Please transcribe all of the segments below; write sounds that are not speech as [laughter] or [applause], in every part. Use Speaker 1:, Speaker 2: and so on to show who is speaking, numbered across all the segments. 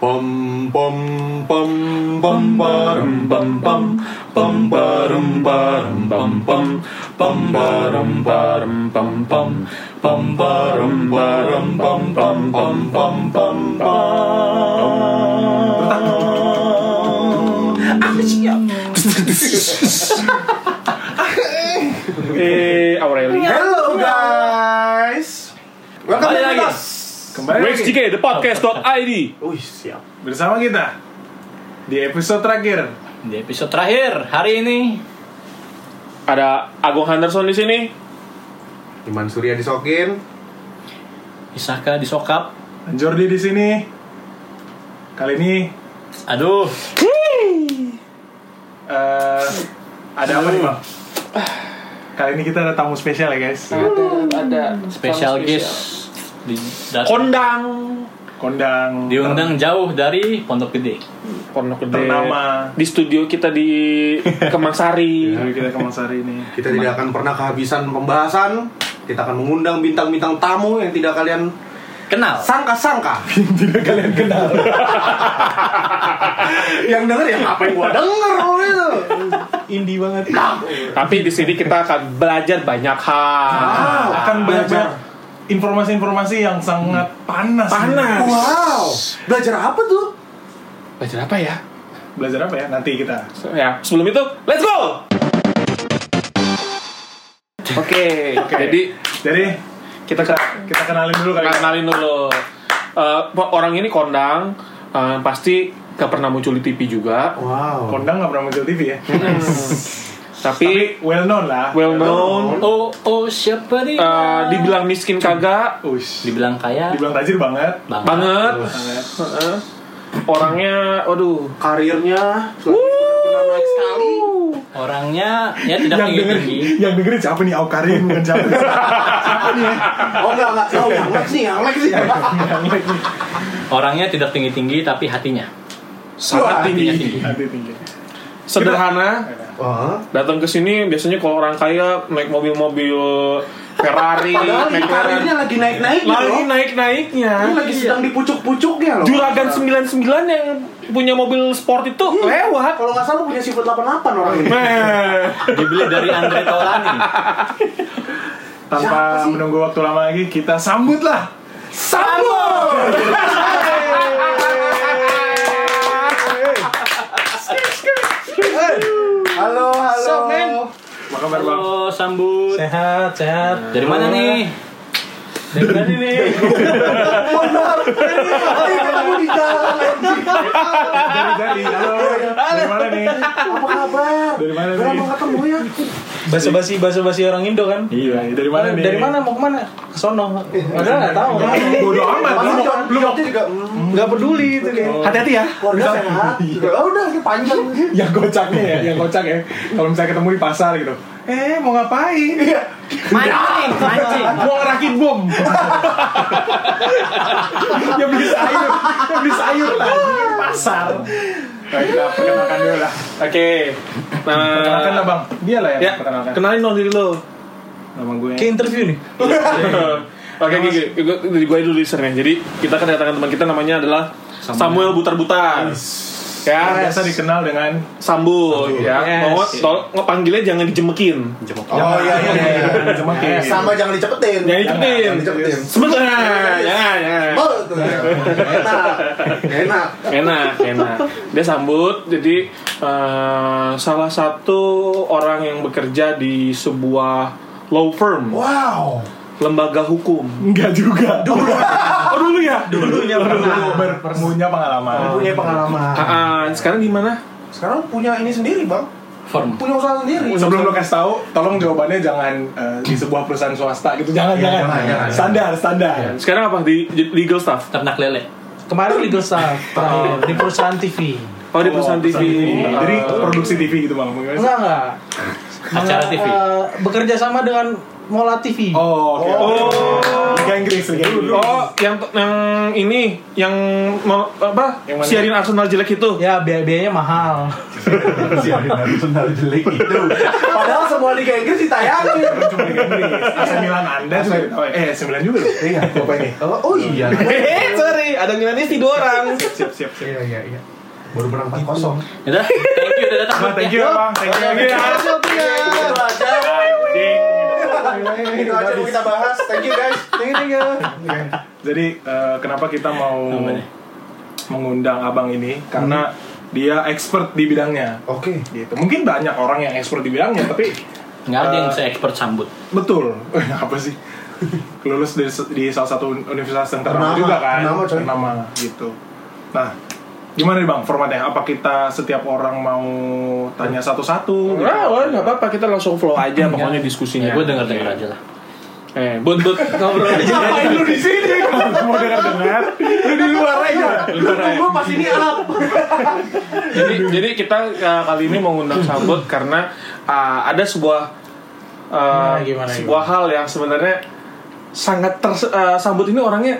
Speaker 1: Pom pom pom pom barum pom pom pom barum barum pom pom pom barum barum pom pom pom barum barum pom pom pom pom pom
Speaker 2: Aku siap.
Speaker 3: Eh, Aureli.
Speaker 2: Hello guys. Welcome
Speaker 3: Kembali
Speaker 2: back
Speaker 3: lagi.
Speaker 2: with us.
Speaker 3: Kembali
Speaker 2: Kembali
Speaker 3: Rage
Speaker 2: lagi.
Speaker 3: GK, the podcast.id.
Speaker 2: Wih siap.
Speaker 4: bersama kita di episode terakhir
Speaker 5: Di episode terakhir hari ini
Speaker 3: Ada Agung Henderson di sini.
Speaker 2: Iman Surya disokin.
Speaker 5: Isaka disokap.
Speaker 4: Dan Jordi di sini kali ini
Speaker 5: Aduh,
Speaker 4: eh, ada apa nih bang kali ini kita ada tamu spesial ya guys
Speaker 3: Ada
Speaker 5: special guest di dat-
Speaker 3: Kondang.
Speaker 4: kondang
Speaker 5: diundang jauh dari Pondok Gede.
Speaker 3: Pondok Gede.
Speaker 4: Ternama.
Speaker 3: Di studio kita [laughs] di Kemangsari.
Speaker 4: Jadi kita ke Mas Hari ini
Speaker 1: Kita tidak akan pernah kehabisan pembahasan. Kita akan mengundang bintang-bintang tamu yang tidak kalian
Speaker 5: Kenal.
Speaker 1: sangka-sangka. tidak kalian kenal. [laughs] yang denger ya ngapain gua denger lu itu.
Speaker 4: indie banget
Speaker 3: Tapi di sini kita akan belajar banyak hal.
Speaker 1: Wow,
Speaker 4: Ah, akan banyak informasi-informasi yang sangat panas
Speaker 3: Panas.
Speaker 1: Wow, belajar apa tuh?
Speaker 3: Belajar apa ya?
Speaker 4: belajar apa ya nanti kita
Speaker 3: So, ya, sebelum itu, let's go. Oke, jadi
Speaker 4: jadi
Speaker 3: kita ke
Speaker 4: kita kenalin dulu kali
Speaker 3: Kita
Speaker 4: ini.
Speaker 3: kenalin dulu Eh, orang ini kondang eh, pasti gak pernah muncul di TV juga
Speaker 1: Wow.
Speaker 4: kondang nggak pernah muncul TV ya
Speaker 3: tapi
Speaker 4: well known lah
Speaker 3: well known
Speaker 5: Oh, oh siapa dia?
Speaker 3: eh, dibilang miskin kagak
Speaker 4: Ush.
Speaker 5: dibilang kaya.
Speaker 4: dibilang tajir banget
Speaker 5: Bang.
Speaker 3: banget Eh, orangnya waduh
Speaker 1: Karirnya selalu benar-benar naik sekali.
Speaker 5: Orangnya ya tidak
Speaker 4: yang
Speaker 5: tinggi
Speaker 4: denger
Speaker 5: tinggi.
Speaker 4: yang dengerin siapa nih Aukarin bukan siapa
Speaker 1: Oh enggak enggak, tahu yang Lex nih, yang Lex nih.
Speaker 4: Iya.
Speaker 5: Orangnya tidak tinggi tinggi tapi hatinya.
Speaker 3: sangat
Speaker 5: Hatinya
Speaker 3: tinggi
Speaker 5: tinggi.
Speaker 4: nanti tinggi
Speaker 3: sederhana
Speaker 1: Wah.
Speaker 3: datang ke sini biasanya kalau orang kaya naik mobil-mobil Ferrari
Speaker 1: Padahal ini
Speaker 3: McLaren
Speaker 1: karirnya lagi naik-naik
Speaker 3: lagi
Speaker 1: loh.
Speaker 3: naik-naiknya
Speaker 1: Ini lagi sedang di pucuk-pucuknya loh.
Speaker 3: juragan 99 yang punya mobil sport itu lewat
Speaker 1: Iya. Kalau gitu. nggak salah punya sifat 88 orang ini.
Speaker 3: Nah.
Speaker 5: Dibeli dari Andre Taulani.
Speaker 4: tanpa menunggu waktu lama lagi kita sambutlah
Speaker 3: Sambut!
Speaker 1: Halo, halo.
Speaker 3: So, men.
Speaker 4: apa kabar bang
Speaker 5: Halo, sambut.
Speaker 4: sehat sehat
Speaker 5: Dari mana nih?
Speaker 4: dari tadi nih
Speaker 1: Benar. Ini ketemu di jalan. anjing.
Speaker 4: dari tadi halo dari mana nih
Speaker 1: Apa kabar?
Speaker 4: Dari mana
Speaker 1: Udah
Speaker 4: nih?
Speaker 1: lama ketemu ya.
Speaker 6: basa-basi basa-basi orang Indo kan
Speaker 4: iya dari mana nih
Speaker 6: dari mana mau kemana ke sono padahal
Speaker 1: Iya.
Speaker 6: nggak tahu
Speaker 4: bodoh amat lu
Speaker 1: Pasti
Speaker 4: mau
Speaker 1: jawab-
Speaker 4: lu mau
Speaker 1: jawabnya juga mm,
Speaker 6: nggak peduli itu dia
Speaker 3: Hati-hati ya.
Speaker 1: keluarga sehat. Oh, udah ini panjang.
Speaker 4: yang kocaknya ya yang kocak ya kalau misalnya ketemu di pasar gitu eh mau ngapain
Speaker 5: Mancing, mancing.
Speaker 4: mau ngerakit bom ya beli sayur ya beli sayur tadi di pasar nah, kita perkenalkan dulu lah
Speaker 3: Oke.
Speaker 4: perkenalkan lah
Speaker 3: Nah,
Speaker 4: bang dia lah yang
Speaker 3: ya,
Speaker 4: perkenalkan
Speaker 3: kenalin dong diri lo.
Speaker 4: nama gue
Speaker 6: kayak interview nih
Speaker 3: [laughs] Oke, gigi, dari gue dulu listernya. Jadi kita kedatangan teman kita namanya adalah Samuel Butar-Butar.
Speaker 4: Yang
Speaker 3: Ya,
Speaker 4: biasa dikenal dengan
Speaker 3: sambul ya.
Speaker 6: Yes.
Speaker 3: Mau tol- mau panggilnya jangan dijemekin.
Speaker 1: Oh iya iya. iya.
Speaker 4: Cuma kayak
Speaker 1: Sama jangan dicepetin.
Speaker 3: Jangan dicepetin.
Speaker 1: Jangan dicepetin.
Speaker 3: Sebentar. Ya, Jangan, jangan.
Speaker 1: Bel, tuh. Enak. Enak.
Speaker 3: enak enak dia sambut jadi eh, salah satu orang yang bekerja di sebuah law firm
Speaker 1: Wow.
Speaker 3: lembaga hukum
Speaker 4: Enggak juga Dulu
Speaker 3: oh dulu ya
Speaker 4: Dulunya pernah ber- Punya pengalaman
Speaker 1: Punya pengalaman.
Speaker 3: Ah, ah, sekarang gimana
Speaker 1: Sekarang punya ini sendiri, Bang.
Speaker 5: Form.
Speaker 1: Punya usaha sendiri.
Speaker 4: Sebelum lo kasih tahu, tolong jawabannya jangan eh, di sebuah perusahaan swasta gitu. Jangan, jangan. Iya.
Speaker 1: jangan, jangan.
Speaker 4: Standar, standar.
Speaker 3: sekarang apa di di legal staff
Speaker 5: Ternak lele.
Speaker 6: kemarin legal staff terakhir di perusahaan TV
Speaker 3: oh di perusahaan TV Ah.
Speaker 4: Jadi produksi TV gitu bang. Bagaimana sih?
Speaker 6: enggak enggak
Speaker 5: Acara TV.
Speaker 6: Ah. Eh, bekerja sama dengan Mola TV
Speaker 4: Oh, oke.
Speaker 1: Oh.
Speaker 4: oke. Liga Inggris, Liga Inggris.
Speaker 3: Oh, yang yang ini yang mau- apa?
Speaker 4: Yang mana?
Speaker 3: siarin Arsenal jelek itu.
Speaker 6: Ya biaya biayanya mahal.
Speaker 4: Siarin Arsenal jelek itu.
Speaker 1: Padahal semua Liga Inggris ditayangin.
Speaker 4: Cuma Liga Inggris. AC Milan Anda juga- oh, eh AC Milan juga loh. [laughs] Iya, apa ini?
Speaker 1: Oh, oh iya.
Speaker 3: Eh, sorry, ada Milanisti dua orang.
Speaker 4: Siap, siap, siap.
Speaker 1: Iya, iya, iya. Baru menang 4-0.
Speaker 5: Udah, thank you udah datang.
Speaker 4: Bang, thank you, Bang. Thank you. Thank you.
Speaker 1: Itu aja.
Speaker 4: Anjing.
Speaker 1: Eh, Itu aja yang kita bahas. Thank you guys. Thank you, thank you.
Speaker 4: Jadi eh, kenapa kita mau
Speaker 5: Apa nih?
Speaker 4: mengundang abang ini? Karena dia expert di bidangnya.
Speaker 1: Oke.
Speaker 4: Gitu. Mungkin banyak orang yang expert di bidangnya, tapi
Speaker 5: Enggak ada yang se-expert sambut.
Speaker 4: betul. [laughs] apa sih? Lulus di, di salah satu universitas yang
Speaker 1: Ternama,
Speaker 4: ternama juga kan?
Speaker 1: ternama, coy.
Speaker 4: Ternama, gitu. Nah, gimana nih bang formatnya? Apa kita setiap orang mau tanya satu-satu? gitu?
Speaker 3: Nah, wah, nggak apa-apa, kita langsung flow aja pokoknya diskusinya.
Speaker 5: Ya, gue denger denger aja lah.
Speaker 3: Eh, bud bud ngobrol aja.
Speaker 4: Ngapain lu di sini? Mau dengar-dengar? Lu di luar aja.
Speaker 1: Tunggu pas ini up.
Speaker 3: jadi jadi kita uh, kali ini mengundang Sambut karena uh, ada sebuah uh,
Speaker 6: Gimana, gimana,
Speaker 3: sebuah hal yang sebenarnya sangat ter uh, Sambut ini orangnya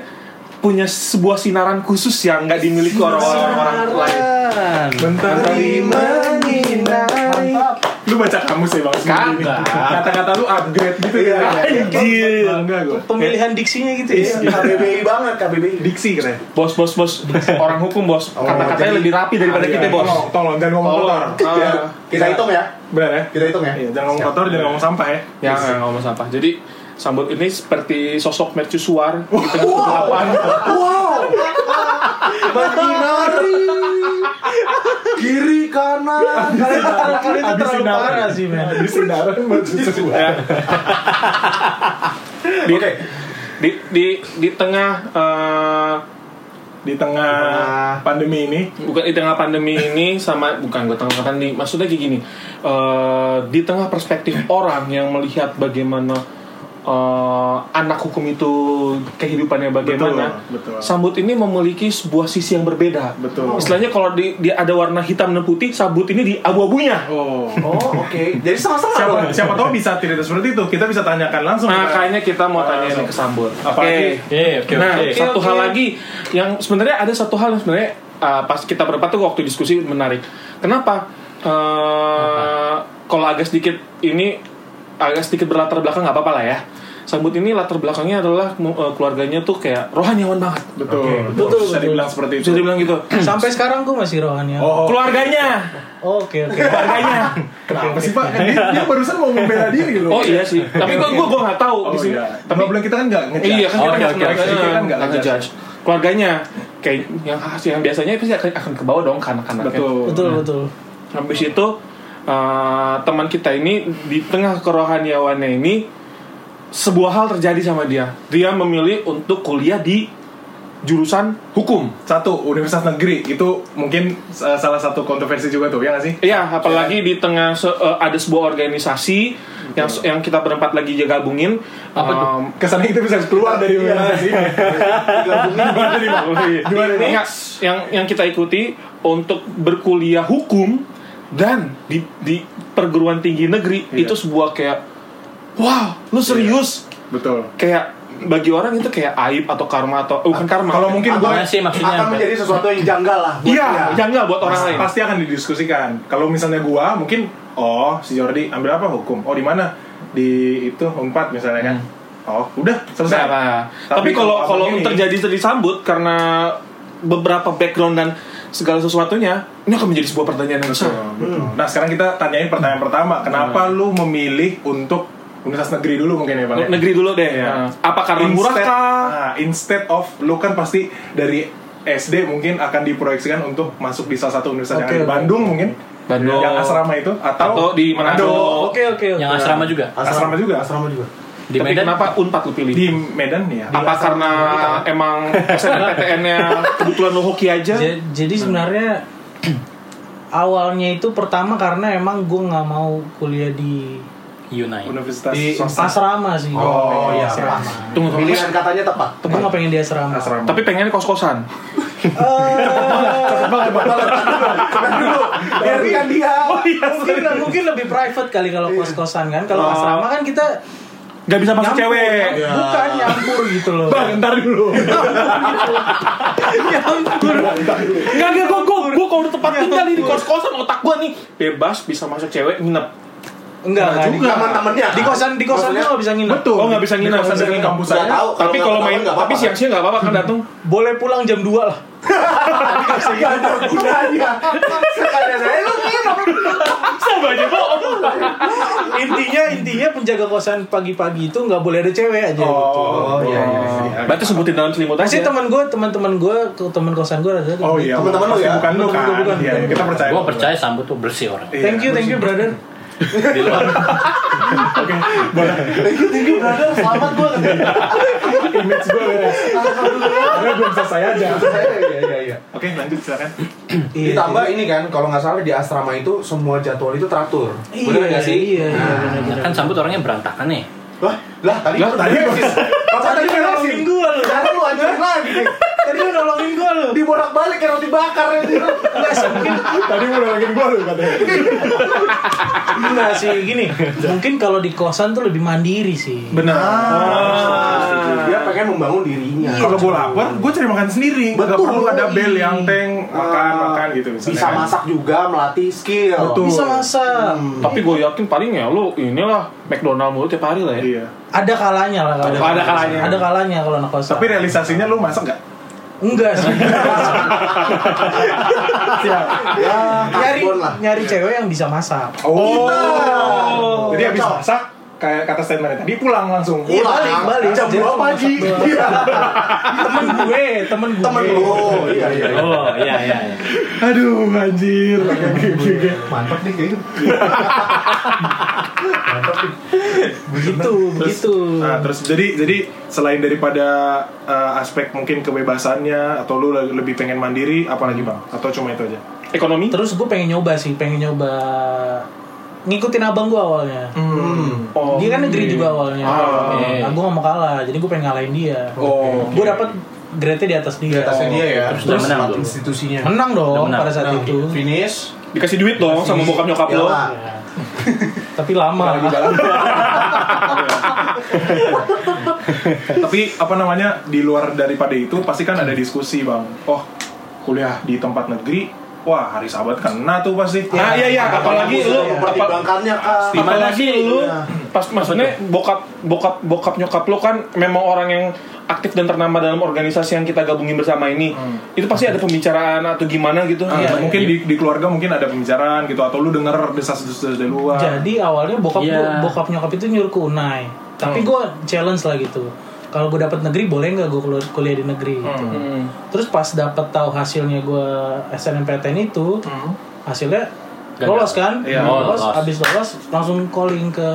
Speaker 3: punya sebuah sinaran khusus yang nggak dimiliki orang-orang orang lain.
Speaker 4: Mentari menyinari. Lu baca kamus ya bang? sendiri.
Speaker 5: Kagak.
Speaker 4: Kata-kata lu upgrade gitu ya.
Speaker 3: Anjir.
Speaker 4: Bangga gue.
Speaker 6: Iya, Pemilihan diksinya gitu ya.
Speaker 1: KBBI banget, KBBI.
Speaker 4: Diksi keren.
Speaker 3: Bos bos
Speaker 4: [laughs]
Speaker 3: bos orang hukum bos
Speaker 4: Oh,
Speaker 3: kata-katanya lebih rapi daripada
Speaker 4: Ah,
Speaker 3: kita bos.
Speaker 4: Tolong, tolong jangan ngomong kotor.
Speaker 3: Ah,
Speaker 4: Iya.
Speaker 1: Kita hitung ya.
Speaker 4: Benar ya?
Speaker 1: Kita hitung ya.
Speaker 4: Iya, jangan ngomong kotor, jangan ngomong sampah ya.
Speaker 3: Ya nggak ngomong sampah. Jadi Sambut ini seperti sosok mercusuar gitu. di
Speaker 4: Oh,
Speaker 3: tengah kegelapan.
Speaker 4: [laughs]
Speaker 1: Menyinari. Kiri kanan.
Speaker 6: Kalian itu terlalu parah sih men.
Speaker 4: Di sinaran maju sesuai.
Speaker 3: Di, di, di, di tengah eh,
Speaker 4: Di tengah pandemi ini,
Speaker 3: bukan di tengah pandemi ini sama bukan gue tengah pandemi maksudnya kayak gini eh, di tengah perspektif orang yang melihat bagaimana eh, anak hukum itu kehidupannya bagaimana
Speaker 4: Betul, betul.
Speaker 3: sambut ini memiliki sebuah sisi yang berbeda
Speaker 4: Betul.
Speaker 3: istilahnya kalau di, dia ada warna hitam dan putih sambut ini di abu-abunya
Speaker 4: oh.
Speaker 1: Oh, oke. Jadi sama-sama
Speaker 4: Siapa
Speaker 1: dong.
Speaker 4: siapa tahu bisa tidak seperti itu. Kita bisa tanyakan langsung.
Speaker 3: nah kayaknya kita mau tanya ini ke sambut
Speaker 4: Ah, Apalagi- Iya,
Speaker 3: Oke. nah, satu hal lagi yang sebenarnya ada satu hal yang sebenarnya uh, pas kita berempat tuh waktu diskusi menarik. Kenapa? Uh, Kalau agak sedikit ini agak sedikit berlatar belakang nggak apa-apa lah ya. Sambut ini latar belakangnya adalah uh, keluarganya tuh kayak rohaniawan banget.
Speaker 4: betul, betul,
Speaker 6: betul,
Speaker 4: Bisa
Speaker 6: betul.
Speaker 4: dibilang seperti itu.
Speaker 3: Bisa dibilang gitu.
Speaker 6: Sampai sekarang gue masih rohani.
Speaker 4: Oh,
Speaker 3: Keluarganya.
Speaker 6: Oke oke.
Speaker 3: Keluarganya.
Speaker 4: Kenapa sih Pak? Dia, dia barusan mau membela diri loh.
Speaker 3: Oh iya sih. Tapi gua gua gua nggak tahu
Speaker 4: Oh,
Speaker 3: di sini.
Speaker 4: iya. Tapi belum kita kan nggak ngejudge.
Speaker 3: Iya kan
Speaker 5: Oh,
Speaker 3: kita
Speaker 5: oke,
Speaker 3: nggak
Speaker 5: oke,
Speaker 3: nggak-
Speaker 4: oke. Kita kan
Speaker 3: nggak
Speaker 4: nggak
Speaker 3: nggak ngejudge. Keluarganya kayak yang yang biasanya pasti akan akan ke bawah dong ke anak-anaknya.
Speaker 4: Betul.
Speaker 6: Betul betul.
Speaker 3: Habis itu eh, teman kita ini di tengah kerohaniawannya ini sebuah hal terjadi sama dia. Dia memilih untuk kuliah di jurusan hukum.
Speaker 4: Satu universitas negeri itu mungkin uh, salah satu kontroversi juga tuh ya nggak sih?
Speaker 3: Iya, apalagi di tengah se- eh, ada sebuah organisasi yang yang kita berempat lagi jaga gabungin. Em,
Speaker 4: Kesannya kita bisa keluar dari
Speaker 3: Iya.
Speaker 4: universitas ini.
Speaker 3: Gimana nih, Bang? Enggak, yang yang kita ikuti untuk berkuliah hukum dan di di perguruan tinggi negeri
Speaker 4: Iya.
Speaker 3: itu sebuah kayak wow, lu serius?
Speaker 4: Betul.
Speaker 3: Kayak bagi orang itu kayak aib atau karma atau eh, bukan karma.
Speaker 4: Kalau mungkin gue
Speaker 5: Apaan sih maksudnya?
Speaker 1: Akan
Speaker 5: apa?
Speaker 1: menjadi sesuatu yang janggal lah. buat
Speaker 3: iya,
Speaker 1: dia.
Speaker 3: jangan buat orang lain.
Speaker 4: pasti akan didiskusikan. Kalau misalnya gua mungkin oh si Jordi ambil apa hukum? Oh di mana? Di itu empat misalnya kan. Oh, udah selesai.
Speaker 3: Hmm. Nah, nah.
Speaker 4: Tapi
Speaker 3: Tapi kalau
Speaker 4: kalau
Speaker 3: kalau
Speaker 4: abang ini-
Speaker 3: terjadi disambut karena beberapa background dan segala sesuatunya, ini akan menjadi sebuah pertanyaan yang besar.
Speaker 4: Betul, betul. Nah, sekarang kita tanyain pertanyaan pertama. Kenapa
Speaker 3: Hmm.
Speaker 4: lu memilih untuk universitas negeri dulu mungkin ya, Bang? ya?
Speaker 3: Negeri dulu deh.
Speaker 4: Iya.
Speaker 3: Nah, Apa karena murah
Speaker 4: Instead-
Speaker 3: kah?
Speaker 4: ah, instead of lu kan pasti dari SD mungkin akan diproyeksikan untuk masuk di salah satu universitas
Speaker 6: Oke,
Speaker 4: yang ada di
Speaker 6: oke.
Speaker 4: Bandung mungkin.
Speaker 3: Bandung.
Speaker 4: Yang asrama itu atau,
Speaker 3: Atau di Manado.
Speaker 4: Oh.
Speaker 6: Oke oke oke.
Speaker 5: Yang asrama juga.
Speaker 4: Asrama juga.
Speaker 1: Asrama juga.
Speaker 5: Di
Speaker 3: Tapi
Speaker 5: Medan
Speaker 3: kenapa Unpad lu pilih?
Speaker 4: Di Medan ya.
Speaker 3: apa karena emang
Speaker 4: [laughs]
Speaker 3: SNMPTN-nya kebetulan lo hoki aja?
Speaker 4: Iya.
Speaker 6: Ja- Jadi sebenarnya [clears throat] awalnya itu pertama karena emang gue nggak mau kuliah di
Speaker 5: Yunai.
Speaker 4: Universitas
Speaker 1: Di-
Speaker 4: swasta.
Speaker 6: asrama sih.
Speaker 4: Oh, iya,
Speaker 6: asrama.
Speaker 3: Tunggu, tunggu.
Speaker 1: Pilihan katanya tepat.
Speaker 6: Gue nggak pengen di asrama.
Speaker 4: Asrama.
Speaker 3: Tapi pengen kos-kosan.
Speaker 1: Biarkan dia.
Speaker 6: Iya, mungkin mungkin lebih private kali kalau kos kosan kan kalau asrama kan kita
Speaker 3: Gak bisa masuk cewek.
Speaker 4: Ya.
Speaker 6: bukan nyampur gitu loh
Speaker 4: Bang, ntar dulu.
Speaker 6: nyampur
Speaker 3: Enggak, enggak, gue, gue, gue kalau udah tempat tinggal nih, di kos-kosan otak gue nih Bebas, bisa masuk cewek, nginep
Speaker 6: enggak enggak
Speaker 1: juga. iya. Teman-temannya.
Speaker 6: Nah, di kosan di kosan
Speaker 1: Maksudnya-
Speaker 6: lo bisa nginep
Speaker 4: Betul.
Speaker 3: Oh, nggak bisa
Speaker 4: Di
Speaker 3: nginep,
Speaker 4: kosan
Speaker 3: nggak bisa
Speaker 4: dekat
Speaker 3: nginep.
Speaker 4: kampus
Speaker 1: Nggak
Speaker 4: saya.
Speaker 1: tahu.
Speaker 3: Tapi
Speaker 1: nggak
Speaker 3: kalau
Speaker 1: tahu
Speaker 3: main,
Speaker 1: nggak apa-apa.
Speaker 3: tapi siang-siang gak apa-apa kan datang
Speaker 6: boleh pulang jam 2 lah
Speaker 1: Gak ada gunanya. Sekadar saya lu nginep.
Speaker 3: Sama aja, bohong
Speaker 6: intinya intinya penjaga kosan pagi-pagi itu nggak boleh ada cewek aja gitu
Speaker 4: Oh, iya iya. iya.
Speaker 3: Berarti sebutin dalam selimut aja
Speaker 6: Pasti teman gue, teman-teman gue, ke- teman kosan gue ada.
Speaker 4: Oh iya.
Speaker 1: Teman-teman lu
Speaker 4: Pasti
Speaker 1: ya?
Speaker 4: Bukan lu kan.
Speaker 6: Bukan, bukan,
Speaker 4: Iya, iya, kita percaya.
Speaker 5: Gue percaya sambut tuh bersih orang.
Speaker 4: Iya.
Speaker 6: Thank you, thank you brother.
Speaker 5: Di luar.
Speaker 4: Oke, boleh.
Speaker 1: Tinggi brother, selamat gua.
Speaker 4: Image gue beres. Karena gue bisa saya aja.
Speaker 1: Iya iya iya.
Speaker 4: Oke, lanjut silakan.
Speaker 6: Iya,
Speaker 1: Ditambah ini kan, kalau nggak salah di asrama itu semua jadwal itu teratur.
Speaker 6: Iya,
Speaker 1: Bener nggak sih?
Speaker 6: Iya, iya,
Speaker 1: Nah.
Speaker 6: bener, bener.
Speaker 5: kan sambut orangnya berantakan nih.
Speaker 1: Lah, lah tadi lu
Speaker 3: Lah,
Speaker 4: tadi
Speaker 1: beresis. Kalau tadi
Speaker 6: Tadi lu
Speaker 1: beresin,
Speaker 6: kan nolongin gua lu.
Speaker 1: sekarang lu anjir lagi.
Speaker 6: Tadi lu nolongin gue lu.
Speaker 1: Diborak balik kayak roti bakar ya.
Speaker 6: [laughs] Nggak sih, mungkin
Speaker 4: Tadi mau nolongin gue lu katanya. Iya
Speaker 6: nggak sih gini. Mungkin kalau di kosan tuh lebih mandiri sih.
Speaker 4: Benar. Ah.
Speaker 1: Nah,
Speaker 6: Ah.
Speaker 1: Dia pengen membangun dirinya.
Speaker 6: Iya,
Speaker 4: Kalau gue lapar, gue cari makan sendiri. Gak
Speaker 1: Betul. Ah,
Speaker 4: perlu ada bel yang teng makan makan gitu. misalnya
Speaker 1: Bisa
Speaker 4: kan.
Speaker 1: masak juga, melatih skill.
Speaker 4: Betul.
Speaker 6: Bisa masak.
Speaker 3: Tapi gue yakin paling ya lu inilah McDonald mulu tiap hari lah ya
Speaker 4: Iya.
Speaker 6: Ada kalanya lah. kalau-
Speaker 3: Ada kalanya.
Speaker 6: Ada kalanya kalau anak kosan.
Speaker 4: Tapi realisasinya lu masak gak?
Speaker 6: enggak sih.
Speaker 1: Ya,
Speaker 6: nyari
Speaker 1: karbon lah.
Speaker 6: nyari cewek yang bisa masak.
Speaker 4: Oh. Jadi
Speaker 1: Cocok.
Speaker 4: habis masak, kayak kata statementnya tadi pulang langsung.
Speaker 6: Iya,
Speaker 1: Pulang,
Speaker 6: balik, balik.
Speaker 1: Jam
Speaker 6: Jadi
Speaker 1: 2
Speaker 6: cuma
Speaker 1: pagi.
Speaker 6: masak doang.
Speaker 1: Iya.
Speaker 6: Temen gue, temen gue.
Speaker 1: Temen lu. Iya iya. iya.
Speaker 5: Oh iya iya. iya.
Speaker 4: Aduh, anjir.
Speaker 1: gitu. Mantap nih kayaknya. Mantap nih.
Speaker 6: Begitu, begitu.
Speaker 4: Nah, terus jadi jadi selain daripada eh, aspek mungkin kebebasannya atau lu le- lebih pengen mandiri apalagi bang atau cuma itu aja
Speaker 3: Ekonomi
Speaker 6: Terus gue pengen nyoba sih, pengen nyoba ngikutin abang gue awalnya.
Speaker 1: Hmm.
Speaker 6: dia kan negeri juga awalnya.
Speaker 4: Oh, Ah,
Speaker 5: oke.
Speaker 6: Nah, gue gak mau kalah, jadi gue pengen ngalahin dia.
Speaker 4: Oh,
Speaker 6: Gue dapat grade di atas dia.
Speaker 1: Di atasnya dia ya.
Speaker 5: Terus dia menang
Speaker 1: tempat
Speaker 5: dulu.
Speaker 1: institusinya.
Speaker 6: Menang dong
Speaker 5: Menang.
Speaker 6: pada saat
Speaker 1: Nah,
Speaker 6: itu.
Speaker 1: Finish.
Speaker 3: Dikasih duit dong sama bokap nyokap Iya. lo
Speaker 1: Piala.
Speaker 6: Ya. Tapi lama.
Speaker 4: lagi dalam tapi apa namanya di luar daripada itu pasti kan ada diskusi bang oh kuliah di tempat negeri wah hari sahabat kena tuh pasti Ah,
Speaker 3: Nah iya iya, apalagi lu
Speaker 1: mempertimbangkannya kan.
Speaker 3: Apalagi lu
Speaker 1: Iya.
Speaker 3: pas maksudnya bokap bokap bokap nyokap lu kan memang orang yang aktif dan ternama dalam organisasi yang kita gabungin bersama ini. Itu pasti ada pembicaraan atau gimana gitu.
Speaker 4: Ah, mungkin di, di keluarga mungkin ada pembicaraan gitu atau lu denger desas-desus dari luar
Speaker 6: Jadi awalnya bokap
Speaker 5: Iya.
Speaker 6: gua- bokap nyokap itu nyuruh ke Unai. Tapi gue challenge lah gitu. Kalau gue dapat negeri boleh nggak gue keluar kuliah di negeri? gitu. Terus pas dapat tahu hasilnya gue SNMPTN itu, hasilnya
Speaker 5: Gagal.
Speaker 6: lolos kan?
Speaker 4: Iya.
Speaker 5: Oh, lolos.
Speaker 6: lolos. Habis lolos langsung calling ke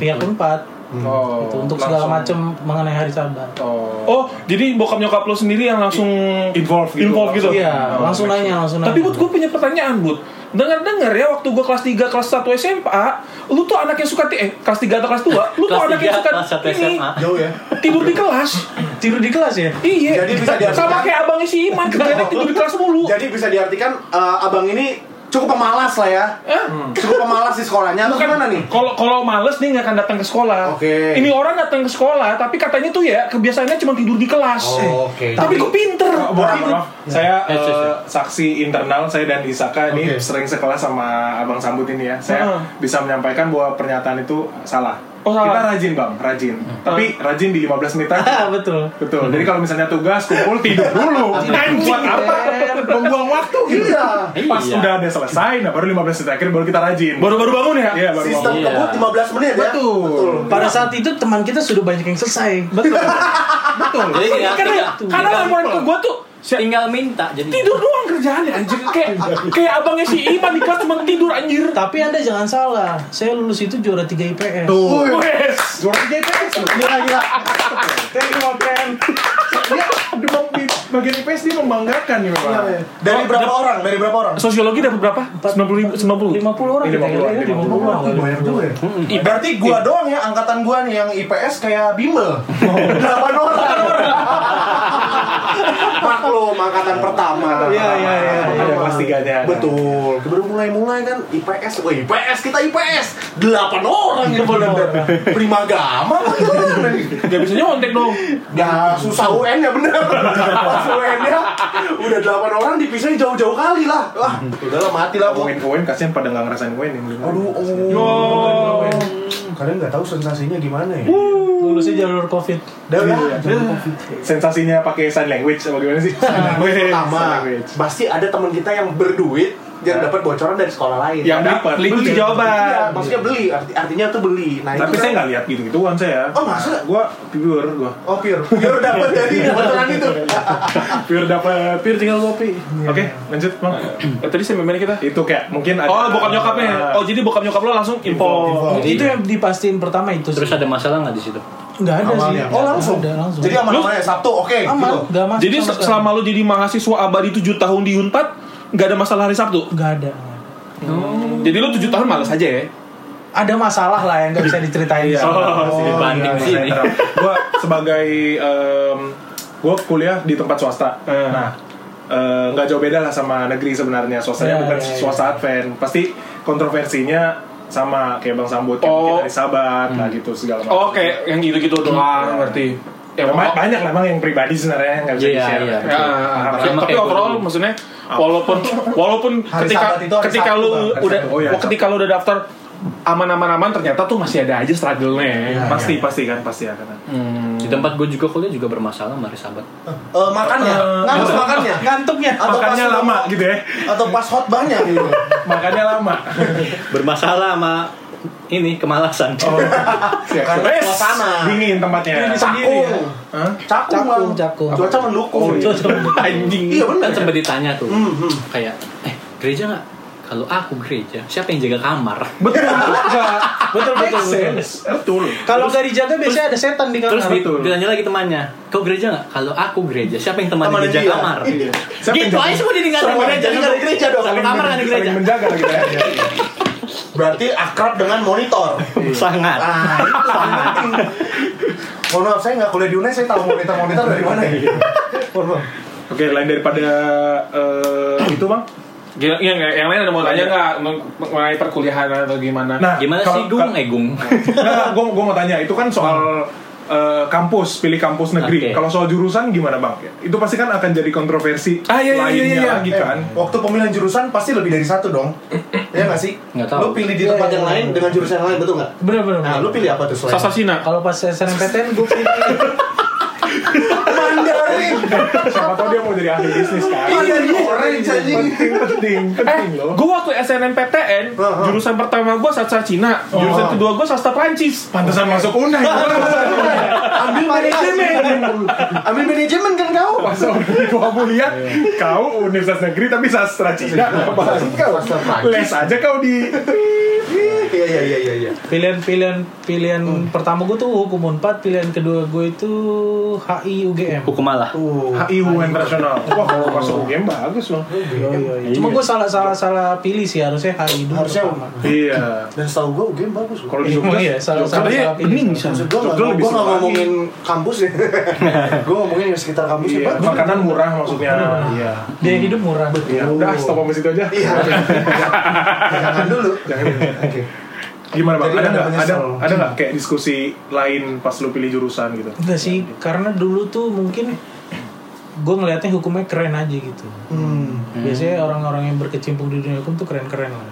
Speaker 6: pihak empat
Speaker 4: oh,
Speaker 6: gitu, untuk segala
Speaker 4: langsung.
Speaker 6: macam mengenai hari sabat.
Speaker 4: oh.
Speaker 3: Oh, jadi bokap nyokap lu sendiri yang langsung
Speaker 4: Involve gitu,
Speaker 3: Involve gitu.
Speaker 4: langsung.
Speaker 6: Iya,
Speaker 4: Oh,
Speaker 6: langsung
Speaker 4: baik.
Speaker 6: nanya,
Speaker 5: Nah.
Speaker 6: langsung nanya.
Speaker 3: Tapi buat gue punya pertanyaan, Bud. Dengar-dengar ya waktu gue kelas 3, kelas 1 SMA, lu tuh anak yang suka ti- eh kelas 3 atau kelas 2, lu tuh
Speaker 5: Kelas
Speaker 3: anak yang
Speaker 5: tiga,
Speaker 3: suka
Speaker 5: kelas satu
Speaker 3: ini
Speaker 5: SMA.
Speaker 1: Jauh ya.
Speaker 3: tidur di kelas.
Speaker 6: tidur di kelas ya?
Speaker 3: Iya.
Speaker 1: Jadi bisa diartikan-
Speaker 3: sama kayak abang si Iman, kerjanya tidur di kelas mulu.
Speaker 1: Jadi bisa diartikan eh, abang ini cukup pemalas lah ya.
Speaker 3: Eh?
Speaker 1: Cukup pemalas di sekolahnya. Atau
Speaker 3: Bukan,
Speaker 1: gimana nih?
Speaker 3: Kalau kalau males dia nggak akan datang ke sekolah.
Speaker 1: Oke.
Speaker 3: Ini orang datang ke sekolah, tapi katanya tuh ya kebiasaannya cuma tidur di kelas.
Speaker 1: Oh, oke.
Speaker 3: Tapi kok pinter.
Speaker 4: Oh,
Speaker 3: Gitu.
Speaker 4: Maaf, maaf. Saya
Speaker 5: Ya,
Speaker 4: eh,
Speaker 5: ya, ya.
Speaker 4: saksi internal saya dan Isaka
Speaker 1: Oke.
Speaker 4: ini sering sekelas sama Abang Sambut ini ya. Saya
Speaker 3: Heeh.
Speaker 4: bisa menyampaikan bahwa pernyataan itu salah.
Speaker 3: Oh, salah.
Speaker 4: Kita rajin, Bang, rajin. Tapi rajin di 15 menit
Speaker 6: [laughs]
Speaker 4: aja.
Speaker 6: [laughs] Ah, betul.
Speaker 4: Betul. Jadi kalau misalnya tugas kumpul tidur dulu. Anjing buat apa? Membuang waktu gitu.
Speaker 1: Iya.
Speaker 4: Pas
Speaker 5: Iya.
Speaker 4: sudah ada selesai, nah baru 15 menit akhir baru kita rajin.
Speaker 3: Baru-baru bangun ya?
Speaker 4: Iya, baru
Speaker 1: Sistem
Speaker 4: bangun.
Speaker 5: Iya.
Speaker 1: kebut 15 menit ya.
Speaker 4: Betul.
Speaker 6: Pada saat itu teman kita sudah banyak yang selesai.
Speaker 4: Betul. Betul.
Speaker 5: Jadi tinggal,
Speaker 3: Karena
Speaker 5: tinggal,
Speaker 3: karena laporan ke gue tuh si-
Speaker 5: tinggal minta jadi.
Speaker 3: tidur doang kerjaannya anjir kayak kayak abangnya si Iman di kelas cuma tidur anjir.
Speaker 6: [laughs] Tapi anda jangan salah, saya lulus itu juara 3 IPS.
Speaker 4: Tuh.
Speaker 3: Wes.
Speaker 4: Juara JPS loh.
Speaker 1: Gila gila.
Speaker 6: Thank you, my friend.
Speaker 4: Dia di bagian IPS dia membanggakan nih memang.
Speaker 1: Dari berapa orang? Dari berapa orang?
Speaker 3: Sosiologi dapat berapa? 90 ribu, 90.
Speaker 6: 50 orang kita
Speaker 4: 50 orang,
Speaker 6: ya, 50
Speaker 4: 50
Speaker 6: orang.
Speaker 1: Banyak juga ya. Berarti gua
Speaker 4: Iya.
Speaker 1: doang ya angkatan gua
Speaker 4: [laughs]
Speaker 1: nih yang IPS kayak bimbel. 8 orang. maklum angkatan pertama.
Speaker 4: Iya, iya, iya. Ada kelas tiganya.
Speaker 1: Betul. Baru mulai-mulai kan IPS, wah IPS kita IPS. Delapan orang ya, yang benar primagama apa gimana nih?
Speaker 3: Gak bisa nyontek dong.
Speaker 1: Nah, susah UN ya bener. Pas UN nya udah delapan orang dipisahin jauh-jauh kali lah. Wah, udahlah mati lah gua.
Speaker 4: Koin koin kasihan pada nggak ngerasain koin yang belum.
Speaker 1: Aduh,
Speaker 3: Yo.
Speaker 1: oh. Kalian nggak tahu sensasinya gimana ya?
Speaker 6: lulusnya jalur covid
Speaker 1: Dah ya,
Speaker 4: Sensasinya pakai sign language apa gimana sih? Sign language.
Speaker 1: pertama
Speaker 4: Sign language.
Speaker 1: pasti ada teman kita yang berduit yang dapat bocoran dari sekolah lain.
Speaker 4: Yang dapat. Itu jawaban.
Speaker 1: Iya, maksudnya beli, arti- artinya tuh beli. Nah,
Speaker 4: Tapi
Speaker 1: itu
Speaker 4: saya
Speaker 1: kan-
Speaker 4: nggak lihat gitu-gituan saya.
Speaker 1: Oh, masa?
Speaker 4: Gua pure, gua
Speaker 1: Oh, pure. [laughs] Pure dapat jadi bocoran itu.
Speaker 4: pure dapat.
Speaker 3: Pir tinggal kopi.
Speaker 4: Oke, lanjut bang.
Speaker 3: Eh, tadi sampai mana kita?
Speaker 4: Itu kayak mungkin ada. Ah,
Speaker 3: Oh, bokap
Speaker 4: Iya.
Speaker 3: nyokapnya. Oh, jadi bokap nyokap lo langsung info.
Speaker 5: Jadi,
Speaker 6: itu yang dipastiin pertama itu sih.
Speaker 5: Terus ada masalah nggak di situ?
Speaker 6: nggak ada
Speaker 1: Awalnya.
Speaker 6: sih
Speaker 1: Oh, langsung.
Speaker 6: Nggak ada, langsung
Speaker 1: Jadi aman-aman ya Sabtu, oke.
Speaker 6: aman
Speaker 1: gitu.
Speaker 6: nggak masuk
Speaker 3: Jadi
Speaker 6: sama
Speaker 3: se-
Speaker 6: sekali.
Speaker 3: selama lo jadi mahasiswa abadi 7 tahun di Unpad, nggak ada masalah hari Sabtu.
Speaker 6: nggak ada
Speaker 3: Jadi lo 7 tahun malas aja ya.
Speaker 6: ada masalah lah yang nggak bisa diceritain
Speaker 4: Iya.
Speaker 6: soalnya.
Speaker 5: masih Oh, dibanding
Speaker 4: iya,
Speaker 5: sini.
Speaker 4: saya terang. Gua sebagai em, gua kuliah di tempat swasta.
Speaker 3: Eh.
Speaker 4: Nah, eh, nggak jauh beda lah sama negeri sebenarnya. Swastanya
Speaker 6: Ya,
Speaker 4: bukan
Speaker 6: ya, ya.
Speaker 4: swasta advent. Pasti kontroversinya sama kayak Bang Sambut kayak
Speaker 3: Oh.
Speaker 4: mungkin hari Sabat lah gitu segala macam.
Speaker 3: Oh, kayak yang gitu-gitu doang, ngerti. Ya,
Speaker 4: Ya,
Speaker 3: pokok-
Speaker 4: ba- banyak lah bang yang pribadi sebenarnya yang nggak bisa
Speaker 5: Iya,
Speaker 4: di-share. Nah,
Speaker 5: iya.
Speaker 3: Ya, tapi-
Speaker 5: Sama
Speaker 3: tapi
Speaker 5: kayak
Speaker 3: overall
Speaker 5: gua.
Speaker 3: maksudnya walaupun walaupun
Speaker 1: Hari
Speaker 3: ketika
Speaker 1: Sabat itu hari
Speaker 3: ketika
Speaker 1: Sabtu,
Speaker 3: lu
Speaker 1: Bang.
Speaker 4: Hari
Speaker 3: udah
Speaker 4: Sabtu. Oh, iya,
Speaker 3: oh, ketika lu udah daftar aman-aman aman ternyata tuh masih ada aja struggle-nya.
Speaker 4: Pasti pasti kan pasti akan. ada.
Speaker 5: Di tempat gue juga kuliah juga bermasalah sama hari Sabat.
Speaker 1: Eh, makannya, nganggur makannya.
Speaker 6: ngantuknya
Speaker 1: Atau
Speaker 4: Makannya
Speaker 1: pas-
Speaker 4: lama gitu ya.
Speaker 1: Atau pas khotbahnya gitu.
Speaker 4: Makannya lama.
Speaker 5: Bermasalah sama ini kemalasan.
Speaker 1: Karena
Speaker 4: Wes,
Speaker 1: suasana.
Speaker 4: Dingin
Speaker 6: Iya,
Speaker 4: tempatnya.
Speaker 1: Cakung.
Speaker 4: Hah?
Speaker 1: Cakung,
Speaker 6: ya. Cakung,
Speaker 1: Bang.
Speaker 6: cakung. Oh, iya.
Speaker 1: Cuaca mendukung.
Speaker 5: anjing.
Speaker 1: Oh, Iya, bener.
Speaker 5: Kan sempat ditanya tuh.
Speaker 1: Hmm, hmm.
Speaker 5: Kayak eh gereja nggak? Kalau aku gereja, siapa yang jaga kamar?
Speaker 4: [laughs] Betul. Nggak.
Speaker 6: betul betul,
Speaker 4: Make
Speaker 6: betul.
Speaker 4: sense. Betul.
Speaker 6: kalau nggak dijaga biasanya ada setan di kamar
Speaker 5: Terus di-
Speaker 4: betul.
Speaker 5: ditanya lagi temannya, kau gereja nggak? Kalau aku gereja, siapa yang teman
Speaker 1: Temannya
Speaker 5: gereja
Speaker 1: dia.
Speaker 5: kamar?
Speaker 1: Iya.
Speaker 4: Siapa yang
Speaker 5: gitu
Speaker 4: jaga?
Speaker 5: aja semua jadi nggak ada
Speaker 1: Sama,
Speaker 5: gereja,
Speaker 1: jadi nggak ada gereja dong.
Speaker 5: Satu kamar nggak ada gereja.
Speaker 4: Saling menjaga lagi ya.
Speaker 1: Berarti akrab dengan [laughs] monitor.
Speaker 5: Iya. Sangat.
Speaker 1: Ah, itu paling [laughs] penting. Mohon maaf, saya nggak kuliah di UNES, saya tahu monitor-monitor dari mana ya. Mohon maaf.
Speaker 4: Oke, lain daripada eh, itu bang.
Speaker 3: Gila, iya, Nah, nggak? yang lain ada mau tanya nggak meng- mengenai perkuliahan atau gimana?
Speaker 5: Gimana
Speaker 4: kalau-
Speaker 5: sih Gung?
Speaker 4: kalau-
Speaker 5: Eh Gung.
Speaker 4: Nggak, gue gue nah, mau tanya. Itu kan soal eh, kampus, pilih kampus negeri.
Speaker 5: Oke.
Speaker 4: Kalau soal jurusan gimana bang? Itu pasti kan akan jadi kontroversi
Speaker 3: Ah, iya, iya,
Speaker 4: lainnya
Speaker 3: iya, iya.
Speaker 4: lagi kan.
Speaker 1: Eh, waktu pemilihan jurusan pasti lebih dari satu dong. Iya nggak sih?
Speaker 5: Nggak tahu.
Speaker 1: Lu pilih di tempat Iya, yang lain dengan jurusan yang lain, betul nggak?
Speaker 6: bener bener
Speaker 1: Nah, lu pilih apa tuh selain?
Speaker 3: Sasasina.
Speaker 6: kalau pas SNMPTN gue pilih
Speaker 1: Mandarin.
Speaker 4: Oh, Siapa tau dia mau jadi ahli bisnis kan.
Speaker 1: Mandarin orange anjing.
Speaker 4: penting penting
Speaker 3: Eh,
Speaker 4: penting loh.
Speaker 3: gua waktu SNMPTN,
Speaker 1: Heeh.
Speaker 3: jurusan pertama gua sastra Cina, jurusan
Speaker 1: Oh.
Speaker 3: kedua gua sastra Prancis.
Speaker 4: Pantesan masuk [laughs] unai.
Speaker 1: Ambil manajemen. Ambil manajemen kan kau?
Speaker 4: Pas aku lihat kau universitas negeri tapi sastra Cina.
Speaker 1: Sastra Prancis.
Speaker 4: Les aja kau di
Speaker 1: Iya iya iya iya iya.
Speaker 6: pilihan pilihan pilihan pertama gue tuh hukum unpad pilihan kedua gue itu HI UGM
Speaker 3: Oh,
Speaker 5: Hukum malah.
Speaker 1: Tuh.
Speaker 4: HI UN nasional. Wah, kalau masuk UGM bagus loh.
Speaker 3: iya.
Speaker 6: cuma gue salah salah salah pilih sih harusnya HI dulu
Speaker 1: Harusnya
Speaker 6: pertama.
Speaker 4: Iya.
Speaker 1: dan setahu gua game bagus.
Speaker 4: Kalau di
Speaker 6: Emang
Speaker 4: Jogja
Speaker 6: iya, salah salah
Speaker 3: Katanya
Speaker 6: salah pilih
Speaker 3: bening sih.
Speaker 1: Maksud gua
Speaker 4: Jogja
Speaker 1: nggak
Speaker 4: lebih
Speaker 1: gua nggak
Speaker 4: seru lagi.
Speaker 1: ngomongin kampus [laughs] ya. gua ngomongin yang sekitar kampus ya
Speaker 4: Iya,
Speaker 1: bagus.
Speaker 4: makanan murah maksudnya. Iya.
Speaker 6: dia hidup murah
Speaker 4: Ya udah stop sama situ aja.
Speaker 1: Iya. Jangan dulu. Jangan dulu. Oke.
Speaker 4: Gimana Bang?
Speaker 1: Jadi ada
Speaker 4: Ada nggak ada
Speaker 1: menyesal.
Speaker 4: ada nggak kayak diskusi lain pas lu pilih jurusan gitu?
Speaker 6: Enggak sih, karena dulu tuh mungkin gue ngelihatnya hukumnya keren aja gitu.
Speaker 1: Hmm.
Speaker 6: Biasanya orang-orang yang berkecimpung di dunia hukum tuh keren-keren lah.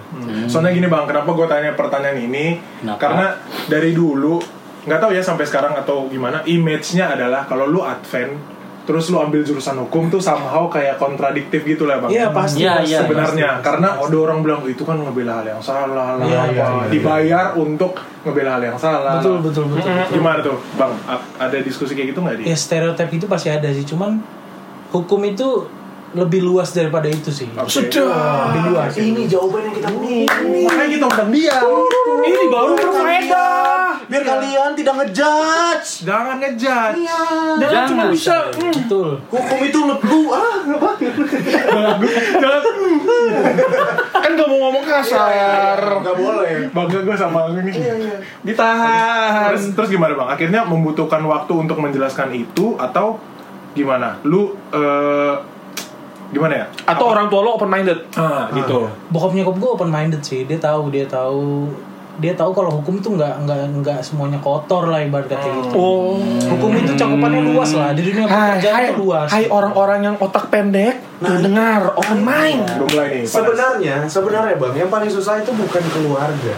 Speaker 4: Soalnya gini bang, kenapa gue tanya pertanyaan ini?
Speaker 5: Kenapa?
Speaker 4: Karena dari dulu nggak tahu ya sampai sekarang atau gimana image-nya adalah kalau lu advent terus lu ambil jurusan hukum tuh somehow kayak kontradiktif gitu lah bang.
Speaker 6: Iya pasti.
Speaker 5: Iya,
Speaker 6: pasti.
Speaker 5: iya.
Speaker 4: Sebenarnya karena ada orang bilang itu kan ngebela hal yang salah lah,
Speaker 6: Iya,
Speaker 4: apa,
Speaker 6: iya, iya, iya.
Speaker 4: dibayar untuk ngebela hal yang salah. lah.
Speaker 6: Betul betul betul.
Speaker 4: Gimana tuh bang? A- Ada diskusi kayak gitu nggak di?
Speaker 6: Ya stereotip itu pasti ada sih, cuman hukum itu lebih luas daripada itu sih.
Speaker 4: Sudah.
Speaker 6: Lebih luas.
Speaker 1: Ini jawaban yang kita punya.
Speaker 4: Makanya kita undang dia.
Speaker 3: Ini baru Iya. berfaedah.
Speaker 1: Biar kalian tidak ngejudge.
Speaker 4: Jangan ngejudge.
Speaker 3: Jangan cuma bisa mm,
Speaker 6: Betul.
Speaker 1: Hukum itu lebu ah apa?
Speaker 3: jangan mm. kan gak mau ngomong kasar.
Speaker 1: Gak boleh.
Speaker 4: Bangga gue sama ini.
Speaker 3: Ditahan.
Speaker 4: Terus, terus gimana bang? Akhirnya membutuhkan waktu untuk menjelaskan itu atau gimana? Lu eh, gimana ya?
Speaker 3: Atau orang tua lo open minded
Speaker 4: Ah, gitu.
Speaker 6: bokap nyokap gue open minded sih dia tahu dia tahu dia tahu kalau hukum tuh nggak nggak nggak semuanya kotor lah ibarat kata gitu
Speaker 3: Oh.
Speaker 6: hukum itu cakupannya luas lah di dunia
Speaker 3: Hai,
Speaker 6: pekerjaan
Speaker 3: hai, Nah.
Speaker 6: itu luas
Speaker 3: hai orang-orang yang otak pendek, dengar open mind.
Speaker 4: Belum mulai nih. panas.
Speaker 1: Sebenarnya, sebenarnya bang, yang paling susah itu bukan keluarga.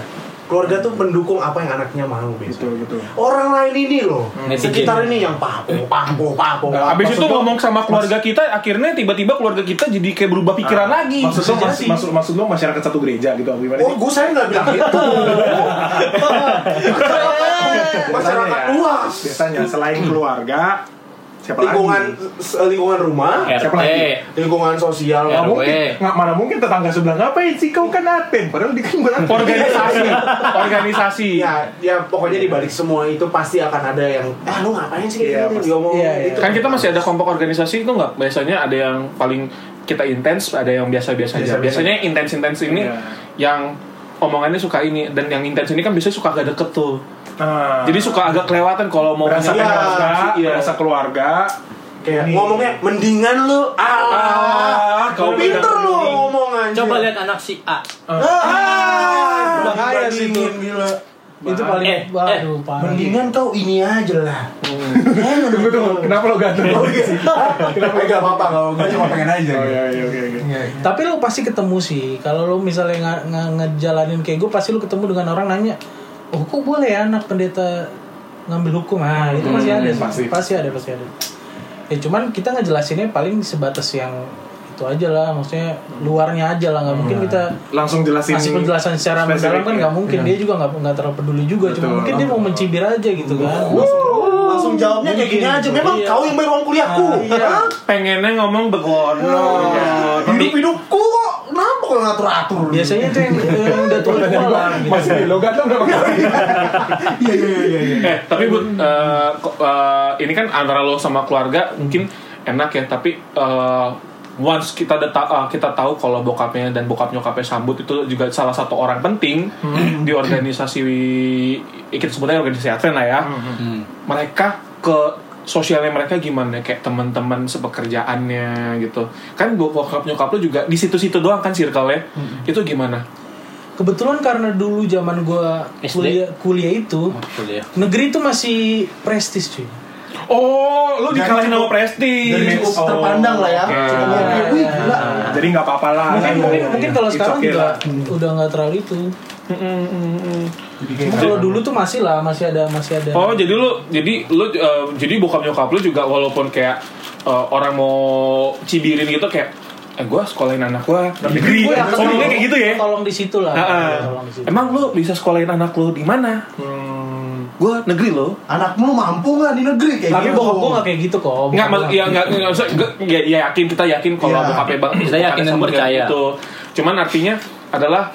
Speaker 1: Keluarga tuh mendukung apa yang anaknya mau
Speaker 4: Betul,
Speaker 1: biasanya.
Speaker 4: betul.
Speaker 1: Orang lain ini loh,
Speaker 5: Netizen.
Speaker 1: sekitar ini yang papo, papo, papo.
Speaker 3: Nah, abis itu
Speaker 1: Maksud gua-
Speaker 3: ngomong sama keluarga kita, akhirnya tiba-tiba keluarga kita jadi kayak berubah pikiran
Speaker 4: Ah,
Speaker 3: lagi.
Speaker 4: Maksud
Speaker 1: Bisa
Speaker 4: lo, mas,
Speaker 1: jadi.
Speaker 4: maksud, maksud lo masyarakat satu gereja gitu apa gimana
Speaker 1: Oh,
Speaker 4: sih?
Speaker 1: gue saya nggak bilang gitu. itu. Masyarakat
Speaker 4: Biasanya ya.
Speaker 1: luas,
Speaker 4: Biasanya selain keluarga siapa
Speaker 1: lingkungan
Speaker 4: lagi?
Speaker 1: s- lingkungan rumah,
Speaker 4: Siapa lagi?
Speaker 5: RT.
Speaker 1: lingkungan sosial.
Speaker 4: Nggak
Speaker 5: RW.
Speaker 4: mungkin,
Speaker 6: eh.
Speaker 4: nggak mana mungkin tetangga sebelah ngapain sih kau kan Aten padahal dia kan bukan Aten.
Speaker 3: Organisasi, organisasi.
Speaker 1: Ya, ya pokoknya di balik semua itu pasti akan ada yang, ah lu ngapain sih
Speaker 4: Iya,
Speaker 1: ini
Speaker 4: pasti.
Speaker 1: diomong
Speaker 6: Iya, iya.
Speaker 1: gitu.
Speaker 3: Kan kita masih ada kelompok organisasi itu nggak? Biasanya ada yang paling kita intens, ada yang biasa-biasa aja.
Speaker 1: Biasa-biasa.
Speaker 3: Biasanya intens-intens ini
Speaker 4: Iya.
Speaker 3: yang omongannya suka ini dan yang intens ini kan biasanya suka agak deket tuh.
Speaker 4: Nah,
Speaker 3: Jadi suka agak kelewatan kalau mau
Speaker 4: berasa
Speaker 1: Iya,
Speaker 4: keluarga,
Speaker 3: iya.
Speaker 4: berasa keluarga.
Speaker 1: Kayak
Speaker 4: Ini.
Speaker 1: ngomongnya mendingan lu
Speaker 4: Ah,
Speaker 1: ah,
Speaker 4: kau
Speaker 1: pinter
Speaker 4: pinter
Speaker 1: lu
Speaker 4: mending.
Speaker 1: ngomong anjir.
Speaker 5: Coba lihat anak si A.
Speaker 1: Ah,
Speaker 6: bahaya sih itu.
Speaker 1: bandingin, gila.
Speaker 6: itu paling
Speaker 5: Eh,
Speaker 6: waduh parah
Speaker 1: Mendingan kau ini aja lah.
Speaker 4: Tunggu tunggu, kenapa lo ganteng?
Speaker 6: Iya.
Speaker 4: Oh
Speaker 1: Kenapa enggak apa-apa kalau gue cuma pengen aja.
Speaker 4: iya iya oke oke.
Speaker 6: tapi lu pasti ketemu sih kalau lu misalnya nge- nge- ngejalanin kayak gue pasti lu ketemu dengan orang nanya oh kok boleh ya anak pendeta ngambil hukum ah
Speaker 3: Hmm,
Speaker 6: itu masih ada sih.
Speaker 4: pasti.
Speaker 6: pasti ada pasti ada ya cuman kita ngejelasinnya paling sebatas yang itu aja lah maksudnya luarnya aja lah nggak mungkin
Speaker 3: Hmm.
Speaker 6: kita
Speaker 4: Langsung jelasin.
Speaker 6: kasih penjelasan secara
Speaker 4: spesifik,
Speaker 6: mendalam kan
Speaker 4: ya.
Speaker 6: nggak mungkin dia juga nggak nggak terlalu peduli juga
Speaker 4: Betul.
Speaker 6: cuma mungkin dia mau mencibir aja gitu kan
Speaker 1: Langsung jawabnya kayak
Speaker 5: gitu.
Speaker 1: gini aja. Memang kau yang bayar uang kuliahku. Hah?
Speaker 3: pengennya ngomong begono.
Speaker 4: Oh, iya.
Speaker 1: Hidup-hidupku kok kenapa kalau ngatur-atur? lu?
Speaker 6: biasanya itu yang, eh, yang udah
Speaker 4: [laughs]
Speaker 6: tua tua lah gitu.
Speaker 4: Masih di lo ganteng berapa?
Speaker 1: Iya iya iya iya.
Speaker 3: Eh, tapi Bud, eh, ko- eh, ini kan antara lo sama keluarga mungkin enak ya, tapi eh, once kita ada ta- eh, kita tahu kalau bokapnya dan bokap nyokapnya sambut itu juga salah satu orang penting di organisasi eh, kita sebutnya organisasi Advent lah ya. Mereka ke sosialnya mereka gimana kayak teman-teman sepekerjaannya gitu. Kan bokap nyokap lo juga di situ-situ doang kan circle-nya. Itu gimana?
Speaker 6: kebetulan karena dulu zaman gua
Speaker 5: SD.
Speaker 6: kuliah kuliah itu
Speaker 5: Kuliah.
Speaker 6: negeri itu masih prestis cuy
Speaker 3: Oh, lo dikalahin sama
Speaker 1: Jadi
Speaker 3: Presti.
Speaker 1: Iya, cukup terpandang lah ya. Cukup
Speaker 6: Iya,
Speaker 1: oke.
Speaker 6: iya,
Speaker 1: Wih
Speaker 6: iya.
Speaker 1: gila.
Speaker 4: Ah, Jadi nggak apa-apa lah.
Speaker 6: mungkin
Speaker 4: Iya,
Speaker 6: mungkin,
Speaker 4: iya,
Speaker 6: mungkin
Speaker 4: iya.
Speaker 6: kalau
Speaker 4: It's
Speaker 6: sekarang
Speaker 4: okay
Speaker 6: juga
Speaker 4: lah.
Speaker 6: udah nggak terlalu itu
Speaker 3: Mm, mm, mm.
Speaker 6: Cuma kalau
Speaker 4: gitu.
Speaker 6: dulu tuh masih lah masih ada masih ada
Speaker 3: Oh jadi lu jadi lu eh, jadi bokap nyokap lu juga walaupun kayak eh, orang mau cibirin gitu kayak eh gue sekolahin anak gue negeri
Speaker 6: Gua yakin
Speaker 3: ngomongnya
Speaker 6: tolong-
Speaker 3: kayak gitu ya
Speaker 6: tolong di situ lah
Speaker 3: [laughs]
Speaker 6: Iya,
Speaker 3: Heeh.
Speaker 6: tolong di situ.
Speaker 3: emang lu bisa sekolahin anak lu di mana
Speaker 6: Hmm.
Speaker 3: gue negeri lo
Speaker 6: Oh,
Speaker 1: Anakmu mampu nggak di negeri kayak
Speaker 6: tapi
Speaker 1: gitu?
Speaker 6: bokap gua nggak kayak gitu kok Bokap
Speaker 3: nggak
Speaker 6: gua
Speaker 3: mak- ya nggak nggak usah gua- ya, ya yakin kita yakin kalau
Speaker 1: Iya.
Speaker 3: bokapnya bang
Speaker 5: Kita yakin dan percaya.
Speaker 3: itu cuman artinya adalah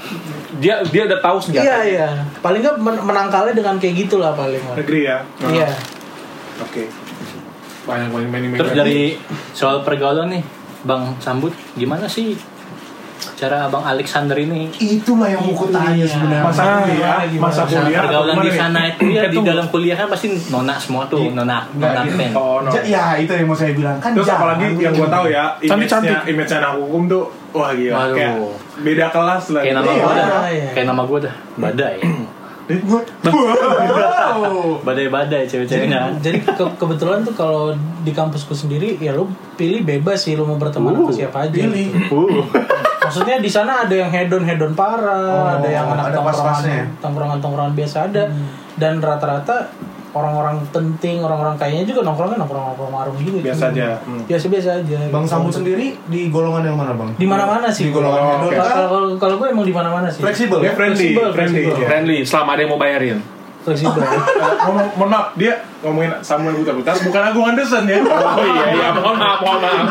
Speaker 3: dia dia udah tahu senjata
Speaker 6: iya iya paling nggak men- menangkalnya dengan kayak gitulah paling lah.
Speaker 4: negeri ya.
Speaker 1: Oh.
Speaker 4: Ah,
Speaker 6: iya
Speaker 4: Oke.
Speaker 3: banyak banyak banyak
Speaker 5: Terus
Speaker 3: banyak.
Speaker 5: dari soal pergaulan nih, Bang Sambut, gimana sih cara Abang Alexander ini
Speaker 1: Itulah yang mau ku tanya sebenarnya.
Speaker 4: Masa
Speaker 3: Ah,
Speaker 4: kuliah,
Speaker 6: gimana,
Speaker 4: masa
Speaker 5: Nah,
Speaker 6: gimana?
Speaker 4: kuliah.
Speaker 1: Iya,
Speaker 4: atau
Speaker 5: pergaulan
Speaker 4: gimana
Speaker 5: di
Speaker 4: nih?
Speaker 5: sana itu ya di
Speaker 3: Tunggu.
Speaker 5: dalam kuliah kan pasti nona semua tuh,
Speaker 1: Iya.
Speaker 5: nona nona pen.
Speaker 4: Oh, no.
Speaker 1: Ja- Ya itu yang mau saya bilang kan.
Speaker 4: Terus
Speaker 1: jangan
Speaker 4: apalagi yang gue tahu ya,
Speaker 3: Cantik-cantik.
Speaker 4: image-nya image anak hukum tuh wah gila.
Speaker 5: Waduh.
Speaker 4: Kayak beda kelas lah.
Speaker 5: Kayak
Speaker 4: gitu.
Speaker 5: nama
Speaker 1: Iya.
Speaker 5: gua dah.
Speaker 6: Iya.
Speaker 5: Kayak nama gua dah. Badai.
Speaker 1: Wow.
Speaker 5: Badai-badai
Speaker 1: Ya.
Speaker 5: cewek-ceweknya.
Speaker 6: jadi ke- kebetulan tuh kalau di kampusku sendiri ya lu pilih bebas sih lu mau berteman sama siapa aja
Speaker 1: Pilih.
Speaker 5: Uh.
Speaker 6: Maksudnya di sana ada yang hedon hedon
Speaker 1: Oh,
Speaker 6: parah, ada yang anak
Speaker 1: ada pas-pasnya Hmm. ya?
Speaker 6: tongkrongan, tongkrongan tongkrongan biasa ada, dan rata-rata orang-orang penting, orang-orang kayaknya juga nongkrongnya nongkrong nongkrong warung juga.
Speaker 4: Biasa aja. Hmm.
Speaker 6: Biasa biasa aja.
Speaker 1: Bang
Speaker 6: Gitu.
Speaker 1: Sambu sendiri di golongan yang mana bang?
Speaker 6: Di mana-mana
Speaker 1: Di
Speaker 6: sih.
Speaker 1: golongan
Speaker 4: Oh,
Speaker 1: hedon
Speaker 4: oke.
Speaker 6: Kalau
Speaker 1: kah?
Speaker 6: kalau kalau gue emang di mana-mana sih.
Speaker 1: Fleksibel.
Speaker 4: Dia friendly,
Speaker 6: Fleksibel,
Speaker 4: friendly.
Speaker 6: fleksibel.
Speaker 4: ya.
Speaker 3: friendly selama ada yang mau bayarin
Speaker 6: Fleksibel.
Speaker 4: Eh, Mohon mohon maaf, dia ngomongin Samuel Buta-Buta, bukan Agung Anderson ya.
Speaker 3: oh iya iya [laughs] mohon maaf mohon maaf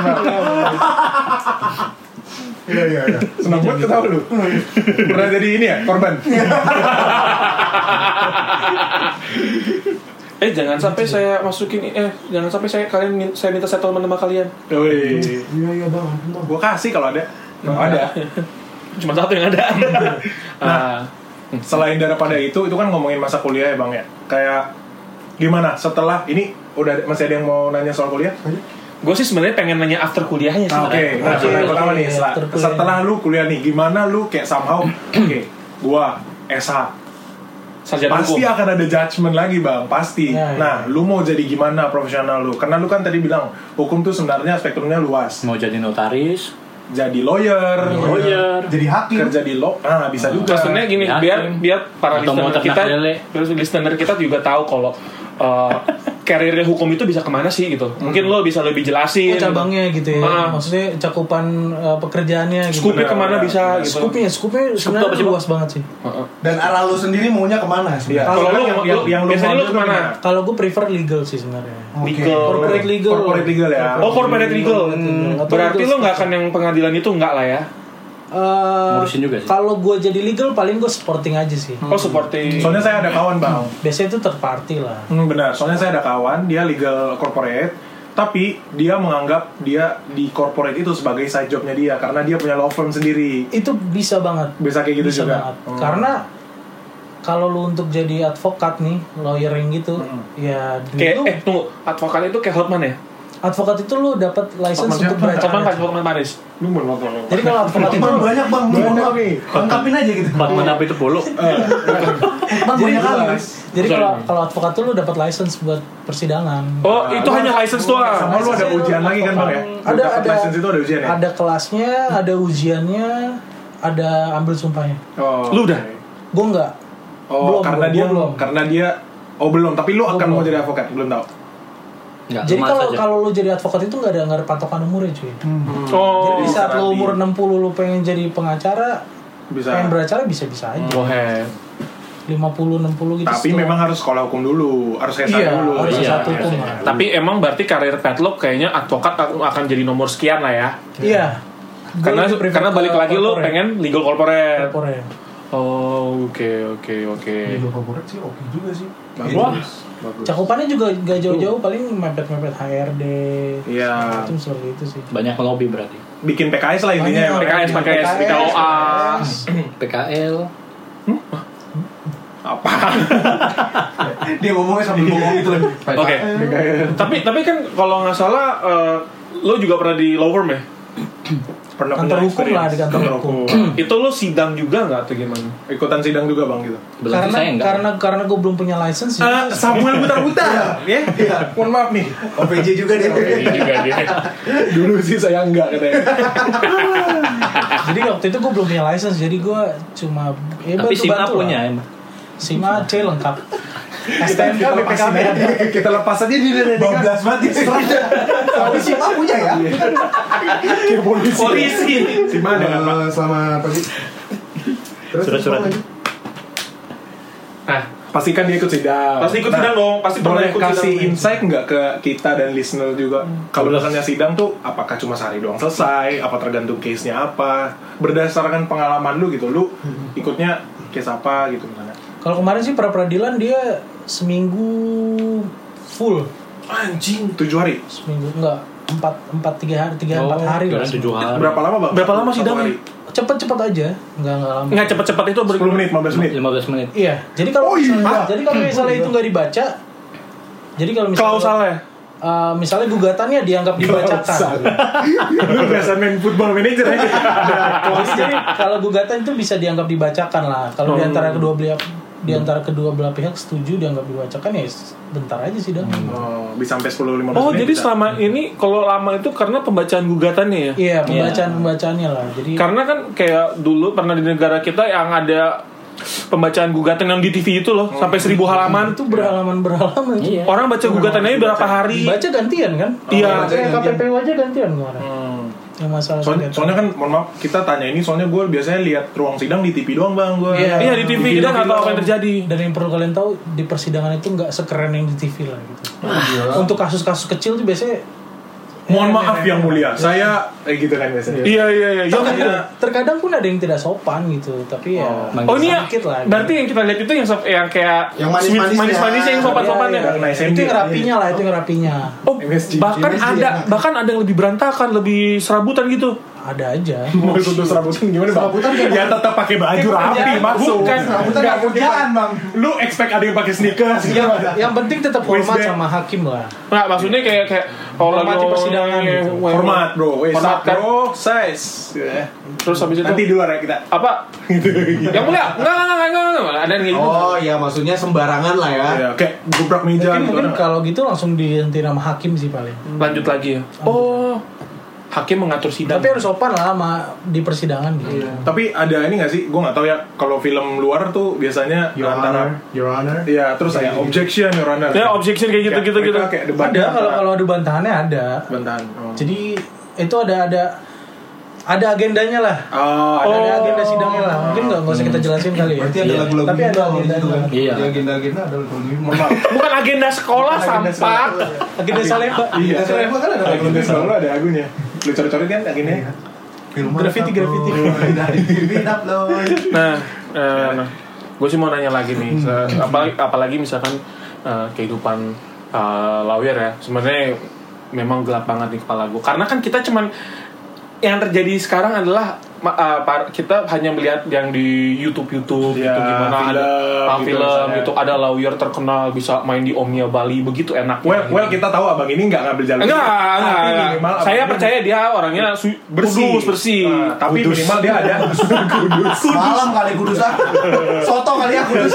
Speaker 1: Iya iya iya.
Speaker 4: Senang banget ketawa lu. Pernah jadi ini ya, korban.
Speaker 3: Eh jangan sampai saya masukin eh jangan sampai saya kalian min- saya minta settlement sama kalian.
Speaker 4: Wih.
Speaker 1: Iya iya bang. ampun, Bang.
Speaker 4: Gue kasih kalau ada. Kalau ada.
Speaker 3: Cuma satu yang ada. [laughs] nah,
Speaker 4: Selain daripada itu, itu kan ngomongin masa kuliah ya bang ya. Kayak gimana setelah ini udah ada- masih ada yang mau nanya soal kuliah?
Speaker 3: Gue sih sebenarnya pengen nanya after
Speaker 6: Eh,
Speaker 3: kuliahnya sih.
Speaker 4: Nah, oke,
Speaker 3: sebenarnya.
Speaker 4: nah,
Speaker 6: Oke,
Speaker 4: pertanyaan pertama nih,
Speaker 6: oke,
Speaker 4: setelah,
Speaker 6: terkuliah.
Speaker 4: setelah lu kuliah nih, gimana lu kayak
Speaker 6: [clears throat]
Speaker 4: somehow, oke, gua SH,
Speaker 3: Sarjana
Speaker 4: pasti
Speaker 3: hukum.
Speaker 4: akan ada judgement lagi bang, pasti.
Speaker 6: Ya, ya.
Speaker 4: Nah, lu mau jadi gimana profesional lu? Karena lu kan tadi bilang hukum tuh sebenarnya spektrumnya luas,
Speaker 5: mau jadi notaris
Speaker 4: jadi lawyer,
Speaker 5: lawyer
Speaker 1: Jadi hakim.
Speaker 4: kerja di law, nah bisa juga.
Speaker 3: Maksudnya gini,
Speaker 5: Yakin.
Speaker 3: biar biar para
Speaker 5: Atau mau
Speaker 3: listener
Speaker 5: ternak
Speaker 3: kita,
Speaker 5: lele.
Speaker 3: biar listener kita juga tahu kalau [laughs] eh, karirnya hukum itu bisa kemana sih gitu. Mungkin lo bisa lebih jelasin.
Speaker 6: Oh, cabangnya gitu ya.
Speaker 3: Iya, Ah.
Speaker 6: Maksudnya cakupan eh, pekerjaannya gitu.
Speaker 3: Scoopnya kemana
Speaker 4: Benar,
Speaker 3: bisa gitu.
Speaker 6: Scoopnya, scoopnya
Speaker 3: apa
Speaker 6: sebenarnya
Speaker 3: sih, Bang?
Speaker 6: luas banget sih.
Speaker 3: Heeh.
Speaker 1: Dan arah lu sendiri maunya kemana
Speaker 4: Iya.
Speaker 1: sebenarnya?
Speaker 3: Kalau
Speaker 4: Sekarang
Speaker 3: lu-
Speaker 4: yang-
Speaker 3: lu-
Speaker 4: yang- yang lu
Speaker 3: biasanya lu
Speaker 4: mau ambil
Speaker 3: kemana?
Speaker 4: gimana?
Speaker 6: Kalau gue prefer legal sih sebenarnya.
Speaker 1: Oke.
Speaker 3: Legal.
Speaker 6: Corporate legal.
Speaker 4: Corporate legal ya.
Speaker 3: Oh corporate legal.
Speaker 6: Hmm.
Speaker 3: Berarti lo nggak akan yang pengadilan itu nggak lah ya?
Speaker 6: Eh,
Speaker 5: Ngurusin juga sih.
Speaker 6: Kalau gue jadi legal paling gue sporting aja sih.
Speaker 3: Oh seperti.
Speaker 4: Soalnya saya ada kawan bang,
Speaker 6: Biasanya itu third party lah.
Speaker 4: Hmm, benar. Soalnya saya ada kawan, dia legal corporate, tapi dia menganggap dia di corporate itu sebagai side jobnya dia karena dia punya law firm sendiri.
Speaker 6: Itu bisa banget.
Speaker 4: Bisa kayak gitu
Speaker 6: bisa
Speaker 4: juga.
Speaker 6: banget.
Speaker 4: Hmm.
Speaker 6: Karena kalau lu untuk jadi advokat nih, lawyering gitu, ya
Speaker 3: Kayak
Speaker 6: dulu
Speaker 3: eh tunggu advokat itu kayak Hotman ya?
Speaker 6: advokat itu lu dapat license
Speaker 4: Hotman
Speaker 6: untuk
Speaker 4: siapa?
Speaker 6: beracara.
Speaker 3: Hotman kan Hotman Paris.
Speaker 4: Lu mau ngomong apa?
Speaker 6: Jadi kan- kalau
Speaker 5: [laughs]
Speaker 6: advokat
Speaker 1: Bang,
Speaker 6: itu
Speaker 1: banyak bang,
Speaker 4: Banyak
Speaker 1: lengkap-
Speaker 4: nih.
Speaker 1: lengkapin aja gitu.
Speaker 5: empat menap itu polo
Speaker 6: [laughs]
Speaker 1: Bang,
Speaker 4: Eh, Jadi
Speaker 1: banyak kali.
Speaker 4: luas.
Speaker 6: jadi
Speaker 3: Sorry.
Speaker 6: kalau kalau advokat tuh lu dapat license buat persidangan.
Speaker 3: Oh itu
Speaker 4: Lu-
Speaker 3: hanya license
Speaker 4: lu- Sama
Speaker 3: doang.
Speaker 4: lu ada
Speaker 6: License-nya
Speaker 4: ujian
Speaker 6: lu
Speaker 4: lagi kan bang ya?
Speaker 6: advokat.
Speaker 4: Lu
Speaker 6: Ada
Speaker 4: dapat
Speaker 6: ada
Speaker 4: license itu ada ujian ya?
Speaker 6: Ada kelasnya, ada ujiannya, ada ambil sumpahnya.
Speaker 4: Oh,
Speaker 3: Lu udah?
Speaker 4: oke.
Speaker 6: Gue nggak.
Speaker 4: Oh,
Speaker 6: Belum,
Speaker 4: karena
Speaker 6: belum,
Speaker 4: dia
Speaker 6: belum.
Speaker 4: karena dia oh belum, tapi lu akan mau jadi advokat, belum tahu.
Speaker 5: Nggak,
Speaker 6: Jadi
Speaker 5: lemas
Speaker 6: kalau
Speaker 5: aja.
Speaker 6: kalau lu jadi advokat itu nggak ada nggak ada patokan umurnya cuy.
Speaker 3: Oh.
Speaker 6: jadi
Speaker 4: bisa
Speaker 6: saat lu
Speaker 4: nanti.
Speaker 6: umur 60 lu pengen jadi pengacara,
Speaker 4: Bisa.
Speaker 6: pengen beracara bisa-bisa
Speaker 3: Hmm.
Speaker 6: aja.
Speaker 3: Bohem.
Speaker 6: 50 60 gitu.
Speaker 4: Tapi
Speaker 6: setelah.
Speaker 4: memang harus sekolah hukum dulu, harus S1
Speaker 6: Iya,
Speaker 4: dulu.
Speaker 6: harus
Speaker 5: Iya,
Speaker 6: satu hukum.
Speaker 5: iya.
Speaker 6: lah.
Speaker 3: Tapi emang berarti karir padlock kayaknya advokat akan jadi nomor sekian lah ya.
Speaker 6: Iya. Gua
Speaker 3: Karena
Speaker 6: lebih prefer
Speaker 3: karena
Speaker 6: ke
Speaker 3: balik lagi lo
Speaker 6: corporate.
Speaker 3: pengen legal corporate.
Speaker 6: Corporate.
Speaker 3: Oh, oke oke oke.
Speaker 1: Legal corporate sih oke juga sih.
Speaker 4: Bagus.
Speaker 3: Wah.
Speaker 4: Bagus.
Speaker 6: Cakupannya juga gak jauh-jauh paling mepet-mepet HRD.
Speaker 4: Iya.
Speaker 6: Itu seperti itu sih.
Speaker 5: banyak lobby berarti
Speaker 4: Bikin PKS lah intinya. ya, Bang.
Speaker 3: PKS, PKS, PKOA.
Speaker 5: PKL
Speaker 4: Apa?
Speaker 1: Dia ngomongnya sambil ngomong gitu lagi.
Speaker 3: Oke. Tapi tapi kan kalau nggak salah eh, lo juga pernah di law firm ya?
Speaker 4: Pernah
Speaker 6: Kantor
Speaker 4: punya
Speaker 6: hukum lah,
Speaker 4: experience.
Speaker 6: di kantor hukum.
Speaker 3: Itu lo sidang juga nggak atau gimana?
Speaker 4: Ikutan sidang juga bang gitu.
Speaker 5: belum
Speaker 6: karena
Speaker 5: saya enggak
Speaker 6: karena karena gue belum punya license ya.
Speaker 4: Eh, Samuel
Speaker 3: [laughs]
Speaker 4: putar-putar,
Speaker 3: Iya.
Speaker 4: ya? Mohon maaf nih.
Speaker 1: OPJ juga dia.
Speaker 3: juga dia.
Speaker 4: [laughs] Dulu sih saya enggak katanya.
Speaker 6: jadi waktu itu gue belum punya license jadi gue cuma ya,
Speaker 5: tapi SIM
Speaker 6: bantu-bantu
Speaker 5: punya
Speaker 6: lah.
Speaker 5: emang
Speaker 6: SIM A C lengkap
Speaker 1: STNK,
Speaker 4: Kita lepasin
Speaker 1: BPKB.
Speaker 4: aja. [laughs] Kita lepas aja di
Speaker 1: Bablas banget dia serang. Tapi si Pak punya ya.
Speaker 4: polisi. Polisi. Si mana kan Pak?
Speaker 1: Eh, Selamat pagi. Terus,
Speaker 5: Surat-surat.
Speaker 1: apa lagi?
Speaker 3: Nah,
Speaker 4: Pastikan dia ikut sidang. Nah,
Speaker 3: Pasti ikut sidang dong, pasti pernah
Speaker 4: boleh
Speaker 3: ikut
Speaker 4: kasih
Speaker 3: sidang.
Speaker 4: insight nggak ke kita dan listener juga. Kalau misalnya sidang tuh apakah cuma sehari doang selesai? Apa tergantung case-nya apa? Berdasarkan pengalaman lu gitu, lu ikutnya case apa gitu misalnya.
Speaker 6: kalau kemarin sih pra peradilan dia seminggu full
Speaker 4: Anjing, tujuh hari.
Speaker 6: seminggu enggak empat empat tiga hari tiga Ya, empat hari lah
Speaker 5: kira Oh, tujuh hari
Speaker 4: Berapa lama, Bang?
Speaker 3: Berapa lama
Speaker 4: Satu
Speaker 3: sidangnya?
Speaker 4: hari?
Speaker 6: cepet cepet aja enggak enggak lama
Speaker 3: nggak cepet-cepet itu
Speaker 4: 10 menit, 15 menit. [laughs]
Speaker 5: 15 menit
Speaker 6: iya jadi
Speaker 4: Oh
Speaker 6: kalau
Speaker 4: iya.
Speaker 6: misalnya, jadi kalau misalnya itu nggak dibaca jadi kalau misalnya
Speaker 3: Klausalnya.
Speaker 6: eh, misalnya gugatannya dianggap dibacakan
Speaker 4: Lu biasa main football
Speaker 3: [laughs]
Speaker 4: manager aja.
Speaker 6: jadi kalau gugatan itu bisa dianggap dibacakan lah kalau di antara kedua belah di antara kedua belah pihak setuju dianggap dibacakan ya bentar aja sih dong
Speaker 4: Oh, bisa sampai 10 15
Speaker 3: Oh,
Speaker 4: menit.
Speaker 3: jadi
Speaker 4: bisa.
Speaker 3: selama ini kalau lama itu karena pembacaan gugatannya ya?
Speaker 6: iya pembacaan pembacaannya lah jadi
Speaker 3: Karena kan kayak dulu pernah di negara kita yang ada pembacaan gugatan yang di TV itu loh sampai seribu halaman.
Speaker 6: itu berhalaman berhalaman
Speaker 5: iya
Speaker 3: Orang baca gugatannya berapa hari?
Speaker 6: dibaca gantian kan
Speaker 3: Iya.
Speaker 6: Kayak KPPU aja gantian kemarin
Speaker 4: Hmm.
Speaker 6: yang masalah
Speaker 4: Soalnya,
Speaker 6: sengketa.
Speaker 4: soalnya kan mohon maaf kita tanya ini soalnya gue biasanya lihat ruang sidang di TV doang bang gue.
Speaker 6: Iya.
Speaker 3: Iya di TV kita nggak tahu apa yang terjadi.
Speaker 6: dan yang perlu kalian tahu di persidangan itu nggak sekeren yang di TV lah gitu untuk kasus-kasus kecil tuh biasanya
Speaker 4: Mohon maaf yang mulia, saya eh gitu kan biasanya.
Speaker 3: Iya iya iya. Ya,
Speaker 6: terkadang, terkadang pun ada yang tidak sopan gitu tapi ya
Speaker 3: Oh ini ya,
Speaker 6: sedikit lah gitu.
Speaker 3: berarti yang kita lihat itu yang sop- yang kayak
Speaker 1: Yang manis-manisnya.
Speaker 3: manis-manisnya, yang sopan-sopannya.
Speaker 6: Iya, iya, iya.
Speaker 4: Nice
Speaker 6: itu
Speaker 4: MD.
Speaker 6: yang rapinya lah itu yang rapinya
Speaker 3: Oh,
Speaker 4: MSG.
Speaker 3: bahkan
Speaker 1: MSG,
Speaker 3: ada
Speaker 1: enak.
Speaker 3: bahkan ada yang lebih berantakan, lebih serabutan gitu.
Speaker 6: ada aja
Speaker 4: mau ikut lu serabutan gimana bang?
Speaker 1: Serabutan
Speaker 3: kan?
Speaker 1: kayak
Speaker 4: ya tetap pakai baju rapi masuk.
Speaker 1: Bukan, serabutan
Speaker 4: Nggak
Speaker 1: kayak kerjaan,
Speaker 4: mungkin.
Speaker 1: Bang.
Speaker 4: Lu expect ada yang pakai sneakers?
Speaker 3: Iya.
Speaker 6: yang, yang penting tetap hormat
Speaker 4: Iya, Wis deh.
Speaker 6: sama hakim lah
Speaker 3: Nah, maksudnya kayak kayak oh, kalau lagi
Speaker 6: Hormati
Speaker 3: ngomongin-
Speaker 6: persidangan gitu.
Speaker 3: ngomongin-
Speaker 4: Hormat bro, eh,
Speaker 3: Hormat,
Speaker 4: sap,
Speaker 3: kan? Iya.
Speaker 4: bro, size. Ya.
Speaker 3: Terus habis itu
Speaker 4: Nanti di luar ya kita.
Speaker 3: apa? yang mulia, enggak enggak enggak enggak, enggak, enggak. ada yang gitu.
Speaker 1: Oh ya maksudnya sembarangan lah ya.
Speaker 4: Ya, kayak gubrak meja
Speaker 6: mungkin
Speaker 4: gitu.
Speaker 6: mungkin
Speaker 4: ada nggak?
Speaker 6: kalau gitu langsung dihentiin sama hakim sih paling
Speaker 3: Lanjut lagi ya. Oh, hakim mengatur sidang.
Speaker 6: tapi harus sopan lah sama di persidangan gitu
Speaker 4: Tapi ada ini gak sih? Gue gak tahu ya. Kalau film luar tuh biasanya
Speaker 1: Your Honor, Your Honor.
Speaker 4: Iya, terus kayak objection, your honor.
Speaker 3: Ya, objection kayak gitu
Speaker 4: Kayak
Speaker 3: gitu gitu.
Speaker 4: mereka Kayak debat.
Speaker 6: ada kalau kalau ada bantahannya ada
Speaker 4: Bentahan. Oh.
Speaker 6: jadi itu ada ada ada agendanya lah
Speaker 4: Oh, ada.
Speaker 6: ada, ada agenda sidangnya lah mungkin nggak nggak usah kita jelasin kali ya
Speaker 1: Berarti ada
Speaker 5: Iya.
Speaker 1: lagu-lagu
Speaker 6: Tapi ada
Speaker 1: Indo
Speaker 6: agenda
Speaker 1: gitu kan.
Speaker 5: juga. Iya.
Speaker 1: Di agenda-agenda ada lagu-lagu Indo. Mohon maaf.
Speaker 3: Bukan agenda sekolah sampah.
Speaker 6: agenda Salemba
Speaker 4: Iya,
Speaker 1: Agenda Salemba kan ada lagu
Speaker 4: Agenda
Speaker 1: Indo.
Speaker 4: selalu ada agunya. Lu coret-coret kan akhirnya.
Speaker 1: Film
Speaker 6: Graffiti,
Speaker 1: up,
Speaker 6: graffiti.
Speaker 1: Lord. Dari TV upload.
Speaker 3: Nah, eh, nah. gue sih mau nanya lagi nih.
Speaker 4: Hmm.
Speaker 3: Se- Apalagi, apalagi misalkan eh, kehidupan eh, lawyer ya. Sebenarnya memang gelap banget di kepala gue. Karena kan kita cuman yang terjadi sekarang adalah ma- eh, par- kita hanya melihat yang di YouTube YouTube gitu
Speaker 4: Ya,
Speaker 3: gimana ada
Speaker 4: film
Speaker 3: ah,
Speaker 4: gitu
Speaker 3: film
Speaker 4: misalnya.
Speaker 3: gitu ada lawyer terkenal bisa main di Omnia Bali begitu enak.
Speaker 4: Well, well kita tahu abang ini nggak ngambil jalan.
Speaker 3: Enggak,
Speaker 4: ini.
Speaker 3: enggak,
Speaker 4: Tapi
Speaker 3: enggak.
Speaker 4: minimal abang
Speaker 3: Saya
Speaker 4: ini
Speaker 3: percaya dia orangnya su-
Speaker 4: bersih,
Speaker 3: kudus, bersih.
Speaker 4: Ah, tapi
Speaker 3: Kudus.
Speaker 4: minimal dia ada. kudus.
Speaker 1: Malam kali kudus ah. Soto kali ya kudus.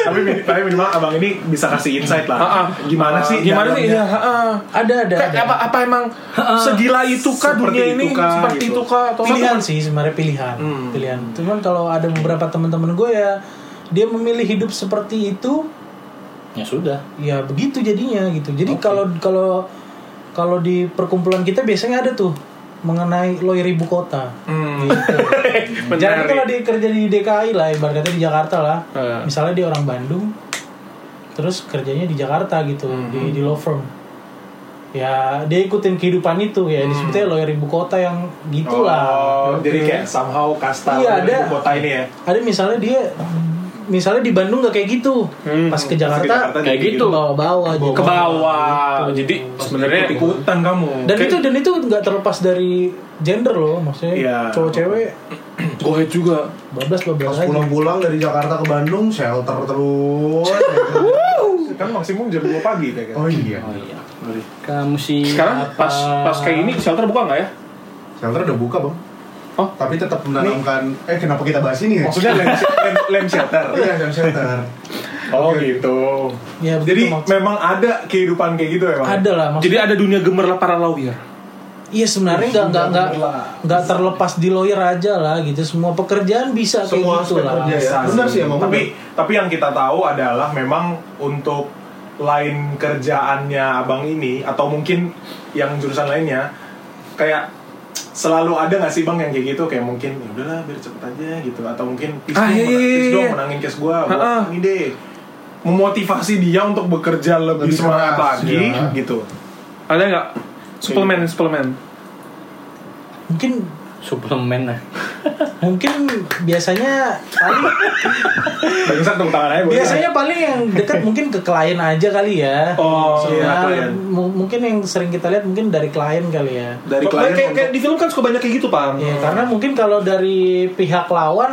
Speaker 4: tapi, min- tapi minimal abang ini bisa kasih insight lah.
Speaker 3: Ah, ah.
Speaker 4: Gimana sih?
Speaker 3: gimana sih?
Speaker 4: dalamnya?
Speaker 3: Iya, heeh.
Speaker 6: ada ada,
Speaker 3: Kayak
Speaker 6: ada.
Speaker 3: apa apa emang segila itu kah
Speaker 4: Seperti
Speaker 3: dunia ini
Speaker 4: itu kah,
Speaker 3: seperti
Speaker 4: gitu.
Speaker 3: itu kah atau Hmm.
Speaker 6: pilihan sih sebenarnya pilihan pilihan cuman kalau ada beberapa teman-teman gue ya dia memilih hidup seperti itu
Speaker 5: ya sudah
Speaker 6: ya begitu jadinya gitu jadi kalau kalau kalau di perkumpulan kita biasanya ada tuh mengenai lawyer ibu kota
Speaker 3: Hmm. [laughs]
Speaker 6: gitu. Jadi kalau dia kerja di DKI lah ibarat kata di Jakarta lah
Speaker 3: Eh.
Speaker 6: misalnya dia orang Bandung terus kerjanya di Jakarta gitu
Speaker 3: Hmm.
Speaker 6: di di law firm ya dia ikutin kehidupan itu ya
Speaker 3: Hmm.
Speaker 6: disebutnya lawyer ibu kota yang gitulah
Speaker 4: Oh, jadi kayak somehow kasta
Speaker 6: Iya,
Speaker 4: dari
Speaker 6: ada.
Speaker 4: kota ini ya.
Speaker 6: ada misalnya dia misalnya di Bandung nggak kayak gitu
Speaker 4: Hmm.
Speaker 6: pas ke
Speaker 4: Terus ke jadi
Speaker 6: Jakarta
Speaker 3: kayak gitu.
Speaker 6: bawa-bawa gitu.
Speaker 3: ke bawah jadi sebenarnya
Speaker 4: Ikutan kamu.
Speaker 6: dan itu dan itu nggak terlepas dari gender loh maksudnya
Speaker 4: Iya.
Speaker 6: cowok cewek
Speaker 3: gohe juga
Speaker 6: bablas bablas
Speaker 1: Pas
Speaker 6: aja
Speaker 1: pulang-pulang dari Jakarta ke Bandung shelter terus.
Speaker 4: kan maksimum jam 2 pagi kayak gitu.
Speaker 1: Oh iya.
Speaker 5: oh iya kamu sih
Speaker 3: sekarang
Speaker 5: apa-
Speaker 3: pas pas kayak ini shelter buka nggak ya
Speaker 1: Shelter udah buka, Bang.
Speaker 3: Oh.
Speaker 1: Tapi tetap menanamkan eh kenapa kita bahas ini ya?
Speaker 4: Maksudnya lem, lem, lem shelter.
Speaker 1: Iya, jam shelter.
Speaker 4: Oh gitu.
Speaker 6: ya begitu
Speaker 4: Jadi
Speaker 6: maksud-
Speaker 4: memang ada kehidupan kayak gitu emang.
Speaker 6: ada lah maksud
Speaker 3: jadi ada dunia gemerlap para lawyer
Speaker 6: iya sebenarnya nggak nggak nggak nggak terlepas di lawyer aja lah gitu semua pekerjaan bisa
Speaker 1: Semua
Speaker 6: kayak gitu
Speaker 1: aspek
Speaker 6: lah
Speaker 1: kerja ya. Benar sih emang.
Speaker 4: Tapi tapi yang kita tahu adalah memang untuk lain kerjaannya abang ini atau mungkin yang jurusan lainnya kayak selalu ada nggak sih bang yang kayak gitu kayak mungkin ya udahlah biar cepet aja gitu atau mungkin please
Speaker 3: Ah, iya,
Speaker 4: dong,
Speaker 3: iya,
Speaker 4: menang- please
Speaker 3: iya,
Speaker 4: dong
Speaker 3: iya.
Speaker 4: menangin case gua gua
Speaker 3: Ha-ha.
Speaker 4: ini deh memotivasi dia untuk bekerja lebih,
Speaker 1: Lebih
Speaker 4: semangat
Speaker 1: keras,
Speaker 4: lagi
Speaker 1: ya.
Speaker 4: gitu
Speaker 3: ada nggak suplemen suplemen
Speaker 6: mungkin
Speaker 5: suplemen lah
Speaker 6: mungkin biasanya paling
Speaker 4: bangsat tepuk tangan aja boleh.
Speaker 6: biasanya paling yang dekat mungkin ke klien aja kali ya
Speaker 4: oh iya
Speaker 6: Nah,
Speaker 4: klien
Speaker 6: mu- mungkin yang sering kita lihat mungkin dari klien kali ya
Speaker 4: dari
Speaker 3: Kayak-
Speaker 4: klien
Speaker 3: kayak,
Speaker 4: untuk-
Speaker 3: kayak di film kan suka banyak kayak gitu pang
Speaker 4: Iya.
Speaker 6: Ya, karena mungkin kalau dari pihak lawan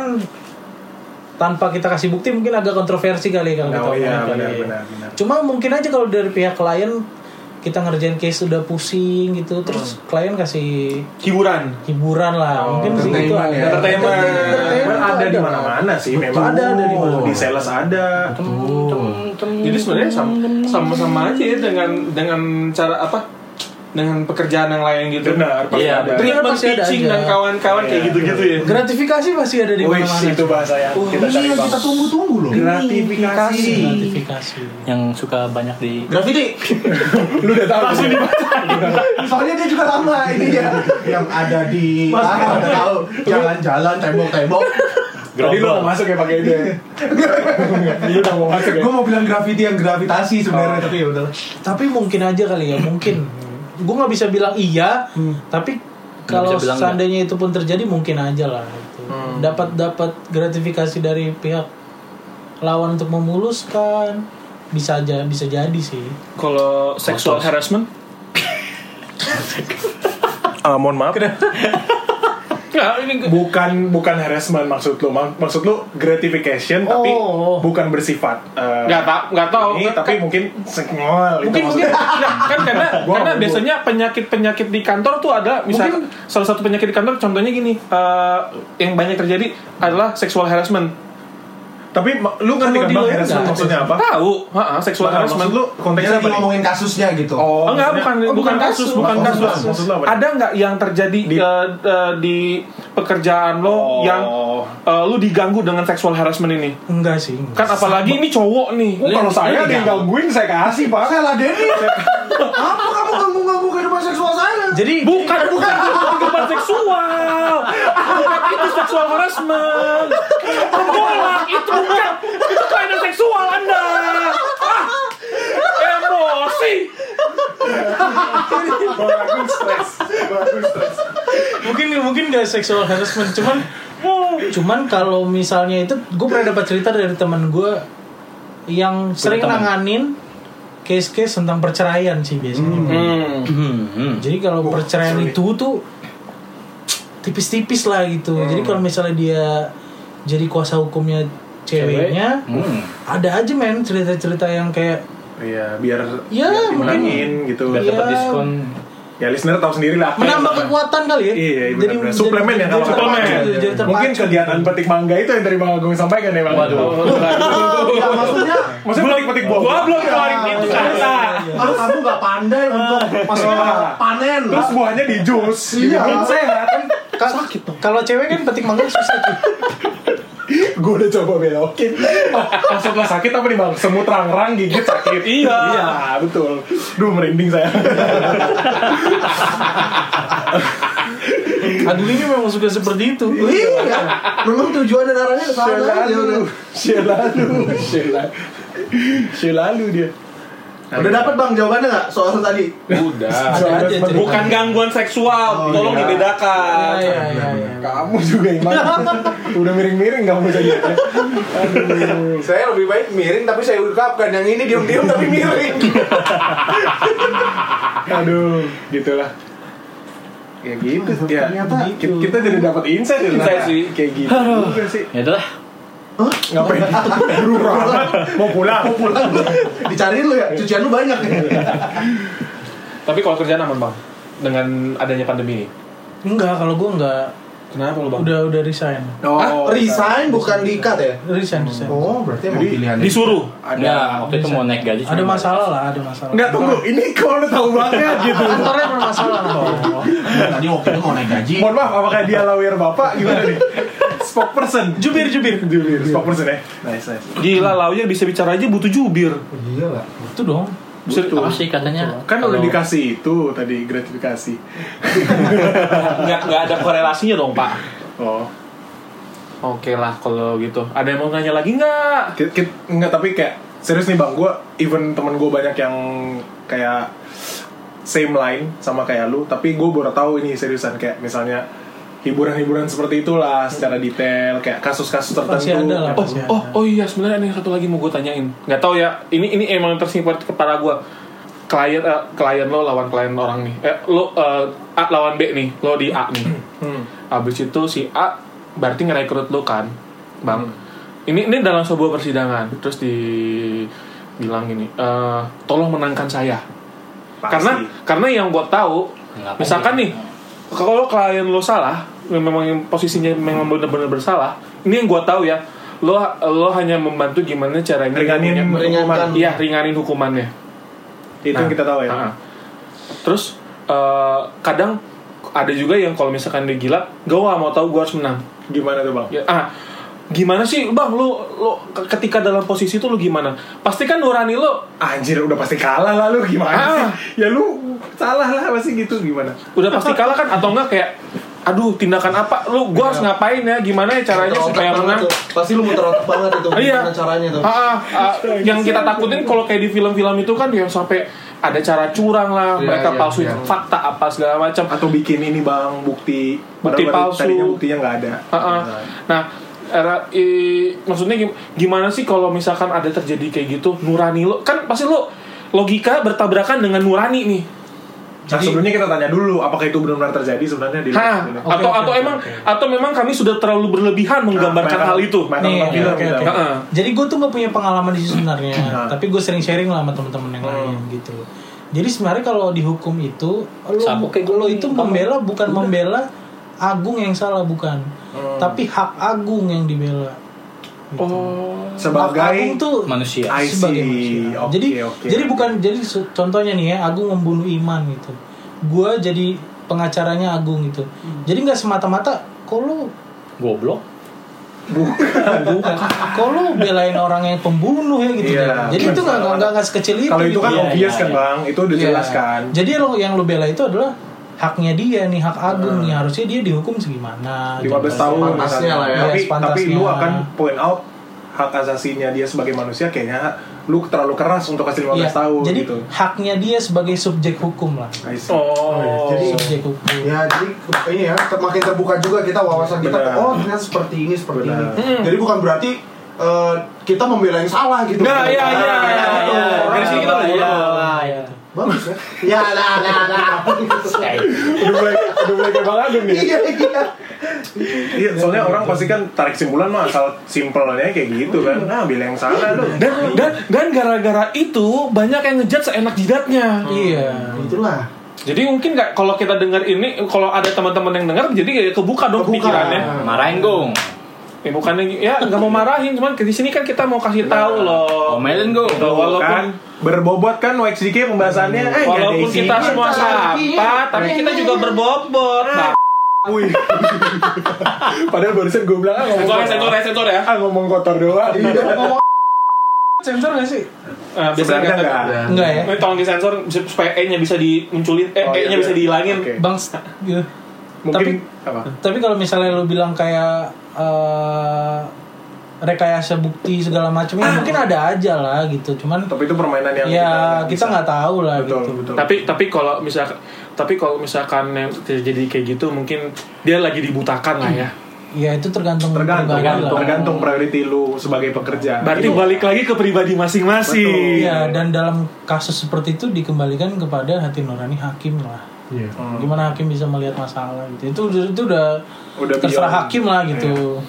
Speaker 6: tanpa kita kasih bukti mungkin agak kontroversi kali ya, kalau
Speaker 4: Oh
Speaker 6: kita
Speaker 4: iya,
Speaker 6: omongin kali.
Speaker 4: benar, benar, benar.
Speaker 6: Cuma mungkin aja kalau dari pihak klien kita ngerjain case udah pusing gitu,
Speaker 4: Hmm.
Speaker 6: terus klien kasih
Speaker 3: hiburan
Speaker 6: hiburan lah.
Speaker 4: Oh,
Speaker 6: mungkin sih itu
Speaker 1: entertainment
Speaker 6: ada.
Speaker 1: ya.
Speaker 3: Entertainment.
Speaker 6: Entertainment
Speaker 4: ada di
Speaker 6: tuh ada.
Speaker 4: mana-mana sih memang
Speaker 6: ada, ada di mana-mana.
Speaker 4: di sales ada
Speaker 3: Jadi sebenarnya sama, sama sama aja ya dengan dengan cara apa dengan pekerjaan yang lain gitu.
Speaker 4: benar pasti
Speaker 5: Iya,
Speaker 4: ada
Speaker 6: benar.
Speaker 3: Treatment
Speaker 6: Masih ada
Speaker 3: pitching
Speaker 6: aja.
Speaker 3: dan kawan-kawan kayak gitu-gitu ya.
Speaker 6: Gratifikasi pasti ada di
Speaker 4: Wih,
Speaker 6: mana-mana. Oh,
Speaker 4: itu bahasa yang kita
Speaker 1: Kita
Speaker 4: cari
Speaker 1: iya,
Speaker 4: bang
Speaker 1: kita tunggu-tunggu loh.
Speaker 4: gratifikasi
Speaker 6: Gratifikasi.
Speaker 5: yang suka banyak di
Speaker 6: Graffiti.
Speaker 4: lu udah tahu belum?
Speaker 1: Soalnya dia juga lama ini ya. Yang ada di ah, ada tahu jalan-jalan tembok-tembok.
Speaker 4: jadi lu mau masuk ya pakai itu ya? [laughs] lu udah mau masuk ya
Speaker 1: Gue mau bilang graffiti yang gravitasi sebenarnya tapi ya udahlah.
Speaker 6: Tapi mungkin aja kali ya, mungkin. Gue nggak bisa bilang iya, tapi kalau
Speaker 5: bisa bilang
Speaker 6: seandainya itu pun terjadi mungkin aja lah. gitu. Dapat dapat gratifikasi dari pihak lawan untuk memuluskan bisa aja bisa jadi sih.
Speaker 3: Kalau sexual harassment
Speaker 4: [laughs] Ah, mohon maaf.
Speaker 3: Nggak, ini gue-
Speaker 4: Bukan bukan harassment maksud lu. Mak- Maksud lu gratification tapi
Speaker 6: Oh.
Speaker 4: bukan bersifat eh,
Speaker 3: nggak tak nggak tahu
Speaker 4: ini, tapi mungkin sengol gitu
Speaker 3: mungkin mungkin nah, kan karena
Speaker 4: Gua
Speaker 3: karena
Speaker 4: ngomong.
Speaker 3: biasanya penyakit penyakit di kantor tuh ada misalnya salah satu penyakit di kantor contohnya gini eh, yang banyak terjadi adalah sexual harassment
Speaker 4: Tapi ma- lu ngerti
Speaker 6: Kalau
Speaker 4: kan
Speaker 6: di
Speaker 4: bang
Speaker 6: luar
Speaker 4: harassment
Speaker 6: nggak.
Speaker 4: maksudnya apa?
Speaker 3: tahu ha, seksual
Speaker 4: Bang,
Speaker 3: harassment
Speaker 4: maksud lu konteksnya
Speaker 1: Kita
Speaker 4: apa?
Speaker 1: lagi
Speaker 4: nih?
Speaker 1: ngomongin kasusnya gitu.
Speaker 3: Oh, enggak,
Speaker 4: maksudnya-
Speaker 3: bukan,
Speaker 6: oh,
Speaker 3: bukan
Speaker 6: bukan
Speaker 3: kasus,
Speaker 6: kasus.
Speaker 3: bukan
Speaker 4: Maksud
Speaker 3: kasus.
Speaker 4: lu apa? Maksud lu apa?
Speaker 3: Ada nggak yang terjadi
Speaker 4: Di-
Speaker 3: eh, eh, di pekerjaan lo
Speaker 4: Oh.
Speaker 3: yang eh, lu diganggu dengan seksual harassment ini?
Speaker 6: Enggak sih. enggak.
Speaker 3: Kan apalagi ini cowok nih.
Speaker 4: Oh, kalau saya
Speaker 5: Lu
Speaker 4: tinggal gue saya kasih pak.
Speaker 1: Saya ladeni. Apa kamu ganggu-ganggu kehidupan seksual saya?
Speaker 6: Jadi
Speaker 3: Bukan, kan bukan, bukan kehidupan seksual. Bukan itu seksual harassment. Tolak, itu bukan. Itu kelainan seksual Anda. Ah, ya emosi.
Speaker 4: Bagus stres, bagus stres.
Speaker 6: mungkin mungkin gak seksual harassment cuman cuman kalau misalnya itu gue pernah dapat cerita dari teman gue yang sering
Speaker 5: teman.
Speaker 6: nanganin case-case tentang perceraian sih biasanya
Speaker 5: Hmm, hmm.
Speaker 6: jadi kalau perceraian
Speaker 4: sorry.
Speaker 6: itu tuh tipis-tipis lah gitu jadi kalau misalnya dia jadi kuasa hukumnya ceweknya
Speaker 5: Hmm.
Speaker 6: ada aja men cerita-cerita yang kayak
Speaker 4: Iya, biar biar
Speaker 6: Ya, mungkin.
Speaker 4: dimenangin gitu.
Speaker 5: Biar
Speaker 6: Iya.
Speaker 5: dapat diskon.
Speaker 4: Ya listener tahu sendiri lah.
Speaker 6: menambah kekuatan kali ya
Speaker 4: Iya, iya, benar-benar. Suplemen ya kalau
Speaker 6: suplemen
Speaker 4: Mungkin kegiatan petik mangga itu yang dari Bang Agung sampaikan ya Bang Agung.
Speaker 1: Ya, maksudnya
Speaker 4: Maksudnya petik-petik buah.
Speaker 3: Gua belum keluarin itu
Speaker 1: Iya,
Speaker 3: kata.
Speaker 1: kalau kamu nggak pandai untuk maksudnya panen.
Speaker 4: Terus buahnya di jus.
Speaker 1: Iya.
Speaker 4: Dibikin sehat.
Speaker 6: sakit kalau cewek kan petik mangga susah tuh
Speaker 4: Gue udah coba belokin. Maksudnya sakit apa nih Bang? Semut rang-rang gigit sakit.
Speaker 3: Iya.
Speaker 4: Iya, betul. Duh merinding saya.
Speaker 6: Aduh ini memang suka seperti itu.
Speaker 1: Iya. Memang tujuan dan arahnya ke sana. aja udah.
Speaker 4: Selalu. Selalu. Selalu. Selalu dia.
Speaker 1: Udah dapat bang jawabannya nggak soal tadi?
Speaker 5: Udah.
Speaker 4: Soalnya
Speaker 6: aja
Speaker 4: seperti-
Speaker 3: Bukan gangguan seksual, tolong
Speaker 4: iya.
Speaker 3: dibedakan.
Speaker 6: Iya iya iya.
Speaker 4: Kamu juga [laughs] Iman Udah miring-miring kamu jadi Aduh
Speaker 1: Saya lebih baik miring tapi saya ungkapkan yang ini diem-diem tapi miring.
Speaker 4: Aduh Gitulah Ya gitu ya,
Speaker 1: ternyata
Speaker 4: gitu. Kita jadi dapat insight ya,
Speaker 3: Insight
Speaker 4: ternyata.
Speaker 3: sih.
Speaker 4: Kayak gitu juga sih
Speaker 5: Ya udah lah.
Speaker 4: Ngapain Buru Mau pulang Mau pulang
Speaker 1: [laughs] Dicariin lu ya, cucian lu banyak.
Speaker 3: Tapi kalau kerjaan aman bang, dengan adanya pandemi ini.
Speaker 6: Enggak kalau gue enggak
Speaker 3: Kenapa lu bang?
Speaker 6: udah udah resign.
Speaker 4: Oh
Speaker 1: Ah, Resign bukan diikat ya?
Speaker 6: Resign resign.
Speaker 1: Oh berarti emang
Speaker 4: Jadi,
Speaker 1: pilihan.
Speaker 3: Disuruh. Ya.
Speaker 5: Ada waktu itu mau naik gaji.
Speaker 6: Ada
Speaker 5: cuma-
Speaker 6: masalah lah, ada masalah.
Speaker 4: Enggak tunggu Ini kalau udah tahu banget [laughs] gitu
Speaker 6: Kantornya bermasalah lah.
Speaker 1: Tadi waktu itu mau naik gaji.
Speaker 4: Mohon maaf apakah dia lawyer bapak gimana nih Spokesperson Jubir jubir Jubir Spokesperson ya Nice nice
Speaker 3: Gila launya bisa bicara aja butuh jubir.
Speaker 1: Iya lah.
Speaker 6: Itu dong.
Speaker 3: Bisa-
Speaker 5: Apa sih katanya?
Speaker 4: Kan udah
Speaker 5: Kalau-
Speaker 4: dikasih itu tadi gratifikasi
Speaker 3: nggak nggak ada korelasinya dong pak
Speaker 4: Oh
Speaker 3: oke lah kalau gitu ada yang mau nanya lagi nggak
Speaker 4: Kit, kit, enggak tapi kayak serius nih bang gue even temen gue banyak yang kayak same line sama kayak lu tapi gue baru tahu ini seriusan kayak misalnya hiburan-hiburan seperti itulah secara detail kayak kasus-kasus tertentu
Speaker 6: Masih ada lah.
Speaker 3: oh
Speaker 6: Masih ada.
Speaker 3: oh oh iya sebenarnya ada yang satu lagi mau gue tanyain nggak tahu ya ini ini emang tersingkir kepala gue klien eh, klien lo lawan klien orang nih eh, lo eh, A lawan B nih lo di A [clears throat] nih
Speaker 4: Hmm.
Speaker 3: abis itu si A berarti ngerekrut lo kan bang ini ini dalam sebuah persidangan terus di bilang gini eh, tolong menangkan saya
Speaker 4: Pasti.
Speaker 3: karena karena yang gue tahu
Speaker 5: Nggak apa-apa.
Speaker 3: misalkan nih kalau klien lo salah memang yang posisinya memang benar-benar bersalah ini yang gue tahu ya lo lo hanya membantu gimana caranya
Speaker 4: meringanin
Speaker 3: punya-
Speaker 1: meringankan.
Speaker 3: iya ringanin hukumannya
Speaker 4: itu yang
Speaker 3: Nah.
Speaker 4: kita tahu ya
Speaker 3: Heeh. terus eh, kadang ada juga yang kalau misalkan dia gila gue gak mau tahu gue harus menang
Speaker 4: gimana tuh bang
Speaker 3: Ya, ah, gimana sih bang lo lo ketika dalam posisi itu lo gimana pastikan nurani lo
Speaker 4: anjir udah pasti kalah lah lu gimana
Speaker 3: Ah.
Speaker 4: sih ya lu salah lah pasti gitu gimana
Speaker 3: udah pasti kalah kan atau enggak kayak aduh tindakan apa lu gua harus ngapain ya gimana ya caranya
Speaker 1: Muter otak
Speaker 3: supaya
Speaker 1: banget
Speaker 3: menang
Speaker 1: tuh. Pasti lu muter otak banget itu.
Speaker 3: Ah, iya
Speaker 1: Gimana caranya tuh?
Speaker 3: Ah, ah, ah, yang kita takutin kalau kayak di film-film itu kan yang sampai ada cara curang lah
Speaker 1: Iya,
Speaker 3: mereka
Speaker 1: iya,
Speaker 3: palsuin
Speaker 1: iya.
Speaker 3: fakta apa segala macam
Speaker 4: atau bikin ini bang bukti padahal tadi-
Speaker 3: palsu.
Speaker 4: tadinya buktinya nggak ada
Speaker 3: Heeh.
Speaker 4: Iya.
Speaker 3: Nah, era i- maksudnya gim- gimana sih kalau misalkan ada terjadi kayak gitu nurani lo kan pasti lo logika bertabrakan dengan nurani nih.
Speaker 4: Nah, sebelumnya kita tanya dulu apakah itu benar-benar terjadi sebenarnya di
Speaker 3: Hah, oh,
Speaker 4: Ini.
Speaker 6: Oke,
Speaker 3: atau
Speaker 6: oke,
Speaker 3: atau
Speaker 6: oke,
Speaker 3: emang
Speaker 6: oke.
Speaker 3: atau memang kami sudah terlalu berlebihan menggambarkan
Speaker 4: Nah,
Speaker 3: hal itu.
Speaker 4: mereka-
Speaker 6: Nih,
Speaker 4: mereka
Speaker 6: oke,
Speaker 4: bilang,
Speaker 6: oke,
Speaker 4: bilang.
Speaker 6: oke.
Speaker 3: Heeh.
Speaker 6: Jadi gue tuh nggak punya pengalaman di situ sebenarnya,
Speaker 4: Nah.
Speaker 6: tapi gue sering sharing lah sama teman-teman yang lain gitu. Jadi sebenarnya kalau dihukum itu, lo,
Speaker 5: Sabuk kayak gua gitu.
Speaker 6: lo
Speaker 5: nih,
Speaker 6: itu
Speaker 5: ngomong.
Speaker 6: membela bukan membela Agung yang salah bukan, tapi hak Agung yang dibela. Gitu.
Speaker 3: Oh.
Speaker 4: sebagai
Speaker 6: Agung tuh
Speaker 5: Kan Manusia.
Speaker 4: I see.
Speaker 6: sebagai manusia.
Speaker 4: Oke,
Speaker 6: jadi
Speaker 4: oke.
Speaker 6: jadi bukan jadi se- contohnya nih ya Agung membunuh Iman gitu. Gua jadi pengacaranya Agung gitu.
Speaker 4: Hmm.
Speaker 6: Jadi nggak semata-mata kalau
Speaker 5: Goblok.
Speaker 6: bukan kok lu belain orang yang pembunuh ya gitu
Speaker 4: Iya.
Speaker 6: ya. Jadi itu nggak nggak- nggak nggak sekecil itu.
Speaker 4: kalau itu kan
Speaker 6: gitu.
Speaker 5: Iya,
Speaker 4: obvious
Speaker 5: iya,
Speaker 4: kan
Speaker 5: iya.
Speaker 4: bang, itu
Speaker 6: Iya.
Speaker 4: dijelaskan.
Speaker 6: Jadi lo yang lu bela itu adalah haknya dia nih hak agung nih harusnya dia dihukum segimana.
Speaker 4: 15 Hmm. tahun
Speaker 1: Sepantasnya lah ya.
Speaker 6: Iya,
Speaker 4: tapi tapi
Speaker 6: sepantasnya.
Speaker 4: lu akan point out hak asasinya dia sebagai manusia kayaknya lu terlalu keras untuk kasih 15
Speaker 6: Iya.
Speaker 4: tahun
Speaker 6: Jadi
Speaker 4: gitu
Speaker 6: haknya dia sebagai subjek hukum lah.
Speaker 4: I see.
Speaker 3: Oh.
Speaker 1: Jadi-
Speaker 6: Subjek hukum.
Speaker 1: Ya jadi ini ya ter- makin terbuka juga kita wawasan kita
Speaker 4: Benar.
Speaker 1: oh ternyata seperti ini seperti
Speaker 4: Benar.
Speaker 1: ini. Jadi bukan berarti eh, kita membela yang salah gitu. Bukan.
Speaker 3: Nah, iya, iya, iya, iya.
Speaker 1: Orang-
Speaker 3: Dari sini kita udah
Speaker 4: iya.
Speaker 5: ya,
Speaker 6: Iya.
Speaker 1: Bagus ya. Ya nah nah nah.
Speaker 4: [laughs] udah mulai udah mulai kayak bang Agung nih
Speaker 1: Iya iya.
Speaker 4: iya soalnya orang pasti kan tarik simpulan mah asal simpelnya kayak gitu kan nah bilang yang salah lu
Speaker 3: Dan dan dan gara-gara itu banyak yang ngejat seenak jidatnya.
Speaker 6: Iya.
Speaker 1: Itulah.
Speaker 3: Hmm. Jadi mungkin nggak kalau kita dengar ini kalau ada teman-teman yang dengar jadi ya kebuka dong
Speaker 1: Kebuka.
Speaker 3: pikirannya.
Speaker 5: Marahin gong.
Speaker 3: Ya bukannya ya nggak mau marahin cuman di sini kan kita mau kasih tahu loh.
Speaker 5: Omelin gong.
Speaker 3: Tuh,
Speaker 4: kan
Speaker 3: walaupun
Speaker 4: berbobot kan WXDK pembahasannya
Speaker 3: Kan
Speaker 4: eh, nggak ada
Speaker 3: walaupun
Speaker 4: isinya.
Speaker 3: kita semua sampah tapi kita juga berbobot. Nah,
Speaker 4: Wih. Padahal barusan gue bilang ah, ngomong
Speaker 3: sensor,
Speaker 4: kotor,
Speaker 3: sensor, sensor ya.
Speaker 4: ah, ngomong kotor doang.
Speaker 1: Iya.
Speaker 6: Sensor nggak sih?
Speaker 3: Ah, biasanya
Speaker 4: Sebenarnya
Speaker 3: nggak-
Speaker 4: enggak.
Speaker 6: Enggak ya.
Speaker 3: Ini tolong disensor supaya E-nya bisa dimunculin, eh,
Speaker 4: Oh, iya,
Speaker 3: E-nya
Speaker 4: iya.
Speaker 3: bisa dihilangin.
Speaker 4: Oke.
Speaker 6: Bang. s- iya.
Speaker 4: Mungkin apa?
Speaker 6: Tapi kalau misalnya lu bilang kayak eh, rekayasa bukti segala macam
Speaker 4: Ah.
Speaker 6: ya mungkin ada aja lah gitu. Cuman
Speaker 4: Tapi itu permainan yang
Speaker 6: ya
Speaker 4: bisa.
Speaker 6: kita nggak tahu lah
Speaker 4: betul,
Speaker 6: gitu.
Speaker 4: betul.
Speaker 3: Tapi tapi kalau misalkan tapi kalau misalkan yang terjadi kayak gitu mungkin dia lagi dibutakan lah ya.
Speaker 6: Ya itu tergantung
Speaker 4: tergantung
Speaker 6: pribadi
Speaker 4: tergantung,
Speaker 6: lah.
Speaker 4: tergantung priority lu sebagai pekerja.
Speaker 3: Berarti balik lagi ke pribadi masing-masing.
Speaker 6: Iya dan dalam kasus seperti itu dikembalikan kepada hati nurani hakim lah.
Speaker 4: Hmm.
Speaker 6: Gimana hakim bisa melihat masalah gitu. Itu itu udah,
Speaker 4: Udah
Speaker 6: terserah
Speaker 4: beyond.
Speaker 6: hakim lah gitu.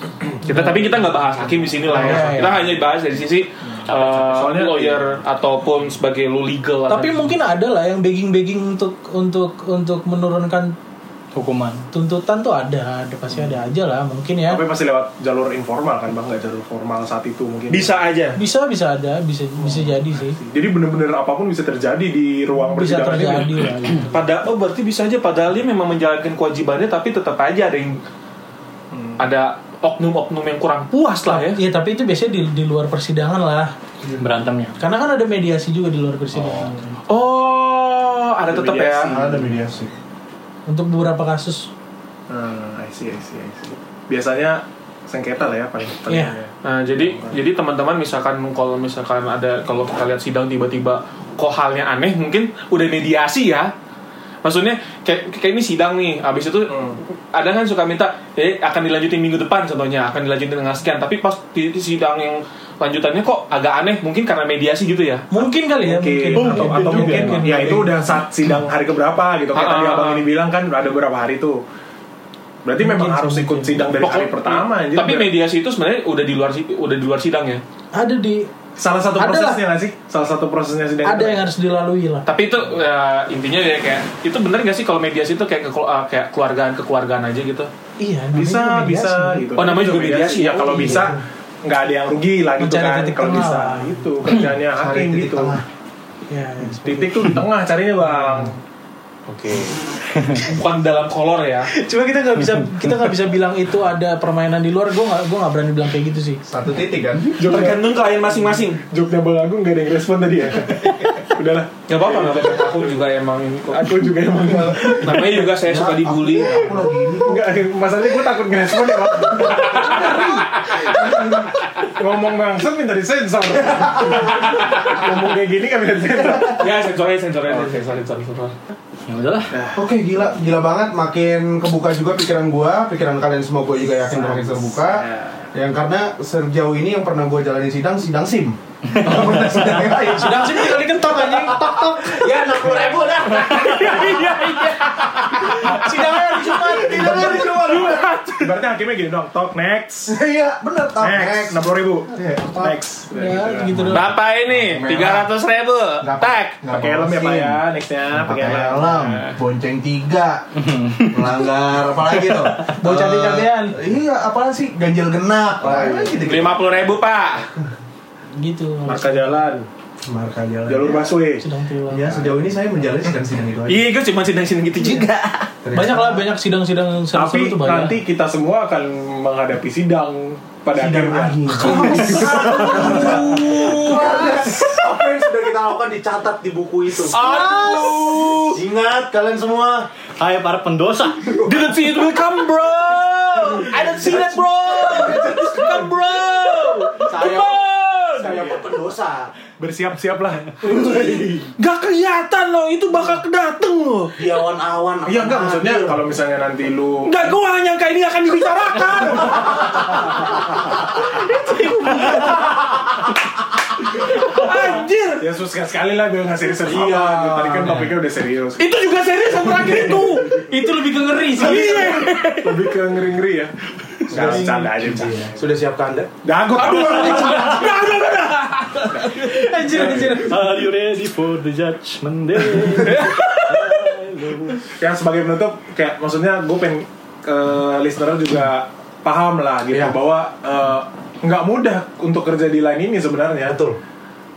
Speaker 3: Kita tapi kita nggak bahas hakim di sini lah ya.
Speaker 6: Iya, iya.
Speaker 3: Kita hanya bahas dari sisi uh,
Speaker 4: Soalnya-
Speaker 3: lawyer ataupun sebagai lu legal.
Speaker 4: Iya.
Speaker 3: lah.
Speaker 6: Tapi mungkin ada lah yang begging-begging untuk untuk untuk menurunkan
Speaker 5: Hukuman.
Speaker 6: tuntutan tuh ada, ada pasti ada aja lah mungkin ya.
Speaker 4: Tapi pasti lewat jalur informal kan bang, nggak jalur formal saat itu mungkin.
Speaker 3: bisa aja.
Speaker 6: Bisa bisa ada, bisa bisa jadi sih.
Speaker 4: Jadi bener-bener apapun bisa terjadi di ruang
Speaker 6: Bisa
Speaker 4: Oh, persidangan
Speaker 6: terjadi
Speaker 4: ini. ya?
Speaker 6: lah gitu.
Speaker 3: Pada oh berarti bisa aja padahal dia memang menjalankan kewajibannya tapi tetap aja ada yang ada oknum-oknum yang kurang puas lah ya.
Speaker 6: Iya, tapi itu biasanya di, di luar persidangan lah.
Speaker 5: Berantemnya.
Speaker 6: Karena kan ada mediasi juga di luar persidangan.
Speaker 3: Oh, ada tetap
Speaker 4: Iya
Speaker 3: ya.
Speaker 1: Ada mediasi.
Speaker 6: Untuk beberapa kasus.
Speaker 4: Hmm, I see, I see, I see. Biasanya sengketa lah ya paling
Speaker 6: Iya.
Speaker 4: ternyata.
Speaker 3: Nah, jadi jadi teman-teman misalkan kalau misalkan ada kalau kita lihat sidang tiba-tiba kok halnya aneh mungkin udah mediasi ya. Maksudnya kayak, kayak ini sidang nih, habis itu
Speaker 4: Hmm.
Speaker 3: ada kan suka minta eh akan dilanjutin minggu depan contohnya, akan dilanjutin dengan sekian, tapi pas di, di sidang yang lanjutannya kok agak aneh mungkin karena mediasi gitu ya.
Speaker 6: Mungkin kali ya,
Speaker 4: Mungkin,
Speaker 6: mungkin.
Speaker 4: atau, atau mungkin, ya itu udah saat sidang hari keberapa gitu kayak
Speaker 3: Ah,
Speaker 4: tadi
Speaker 3: ah,
Speaker 4: abang
Speaker 3: ah.
Speaker 4: ini bilang kan ada berapa hari tuh berarti memang harus ikut sidang dari hari
Speaker 3: Pokok-
Speaker 4: pertama anjir.
Speaker 3: hmm, Tapi mediasi itu sebenarnya udah di luar si- udah di luar sidang ya.
Speaker 6: Ada di
Speaker 4: salah satu
Speaker 6: Ada
Speaker 4: prosesnya nggak sih salah satu prosesnya sidang
Speaker 6: ada yang harus dilalui lah.
Speaker 3: Tapi itu ya, intinya ya kayak itu bener gak sih kalau mediasi itu kayak ke, kayak keluargaan kekeluargaan aja gitu.
Speaker 6: Iya, namanya
Speaker 4: bisa
Speaker 6: juga mediasi.
Speaker 4: bisa gitu
Speaker 3: Oh, namanya juga mediasi.
Speaker 4: ya kalau
Speaker 6: Oh, iya.
Speaker 4: bisa nggak ada yang rugi lah gitu
Speaker 6: Mencari
Speaker 4: kan
Speaker 6: titik
Speaker 4: kalau
Speaker 6: tengah
Speaker 4: bisa
Speaker 6: lah.
Speaker 4: itu kerjanya hakim gitu
Speaker 6: Iya, iya, seperti
Speaker 4: titik tuh di tengah carinya bang
Speaker 3: Oke. Bukan dalam kolor ya.
Speaker 6: itu. Cuma kita nggak bisa [laughs] kita nggak bisa bilang itu ada permainan di luar. Gue nggak gue nggak berani bilang kayak gitu sih.
Speaker 1: Satu titik kan.
Speaker 3: Tergantung klien masing-masing.
Speaker 4: joknya bang Agung nggak ada yang respon tadi ya udahlah
Speaker 3: Gak apa-apa, gak apa-apa. Aku juga emang ini kok.
Speaker 4: aku juga emang
Speaker 3: Namanya juga saya suka dibully.
Speaker 1: Aku lagi ini kok.
Speaker 4: Enggak, masalahnya gue takut ngerespon ya bang Ngomong bangsat minta disensor Ngomong kayak gini kan minta disensor
Speaker 3: Ya, sensornya, sensornya, sensornya, sensornya.
Speaker 5: Ya udahlah.
Speaker 1: Oke gila
Speaker 4: Ya.
Speaker 1: gila banget makin kebuka juga pikiran gua, pikiran kalian semua gua juga yakin makin terbuka.
Speaker 7: Yang karena sejauh ini yang pernah gue jalanin sidang, sidang
Speaker 4: [laughs]
Speaker 7: SIM. Nggak pernah sidang yang lain. Iya,
Speaker 3: Sedang sih kali kentok anjing.
Speaker 1: ya enam puluh ribu dah
Speaker 6: sidangnya hari Jumat
Speaker 7: Sidang hari Jumat.
Speaker 4: Berarti hakimnya gini dong, talk next.
Speaker 7: Iya, bener. Tau.
Speaker 4: Next, enam puluh ribu.
Speaker 7: Iya, tau.
Speaker 4: Next. Udah
Speaker 6: ya
Speaker 4: gitu.
Speaker 6: gitu doang
Speaker 3: Bapak ini tiga ratus ribu.
Speaker 7: Nggak pa-
Speaker 3: Tak.
Speaker 7: nggak
Speaker 4: Pakai helm ya
Speaker 7: bawa
Speaker 4: pak
Speaker 7: SIM.
Speaker 4: ya, nextnya pakai
Speaker 7: Pakai
Speaker 4: helm. Ya.
Speaker 7: helm, bonceng
Speaker 4: [laughs]
Speaker 7: tiga, melanggar apa lagi tuh?
Speaker 6: Bawa cantik-cantian.
Speaker 7: Eh, Iya, apaan sih ganjil genap?
Speaker 3: Lima puluh ribu pak.
Speaker 6: gitu
Speaker 4: Marka jalan,
Speaker 7: Marka jalan.
Speaker 4: jalur busway.
Speaker 6: sidang tilang
Speaker 7: Ya
Speaker 1: Iya.
Speaker 7: sejauh ini saya menjalani sidang-sidang itu aja.
Speaker 3: Iya, gue cuma sidang-sidang gitu juga.
Speaker 6: banyak lah banyak sidang-sidang seru-seru
Speaker 4: Tapi
Speaker 6: tuh banyak.
Speaker 4: nanti kita semua akan menghadapi sidang pada akhirnya.
Speaker 1: [laughs] apa yang sudah kita lakukan dicatat di buku itu ingat kalian semua
Speaker 5: Hai para pendosa.
Speaker 3: Didn't see it will come, bro. I don't see that, bro. Come, bro.
Speaker 1: Saya-
Speaker 3: Come on.
Speaker 1: saya pun pendosa
Speaker 4: Bersiap-siaplah.
Speaker 3: Gak kelihatan loh, itu bakal dateng loh.
Speaker 1: di awan-awan
Speaker 4: Iya enggak
Speaker 1: akan
Speaker 4: maksudnya
Speaker 1: hadir.
Speaker 4: kalau misalnya nanti lu
Speaker 3: Gak gue hanya nyangka ini akan dibicarakan. Anjir,
Speaker 4: Ya susah sekali lah gue ngasih serius
Speaker 1: Iya.
Speaker 4: Iya Tadi kan topiknya udah serius
Speaker 3: itu juga serius yang terakhir
Speaker 6: [laughs]
Speaker 3: itu. itu lebih ke ngeri sih. Iya.
Speaker 4: Lebih ke ngeri-ngeri ya Gak bercanda aja bercanda
Speaker 1: sudah siapkah anda
Speaker 4: Dah gue tau
Speaker 3: Udah, udah, udah. Anjir, anjir.
Speaker 5: Are you ready for the judgment day?
Speaker 4: Ya sebagai penutup Kayak maksudnya gue pengen ke listener juga paham lah gitu
Speaker 1: Iya.
Speaker 4: bahwa eh, nggak mudah untuk kerja di line ini sebenarnya
Speaker 1: ya, betul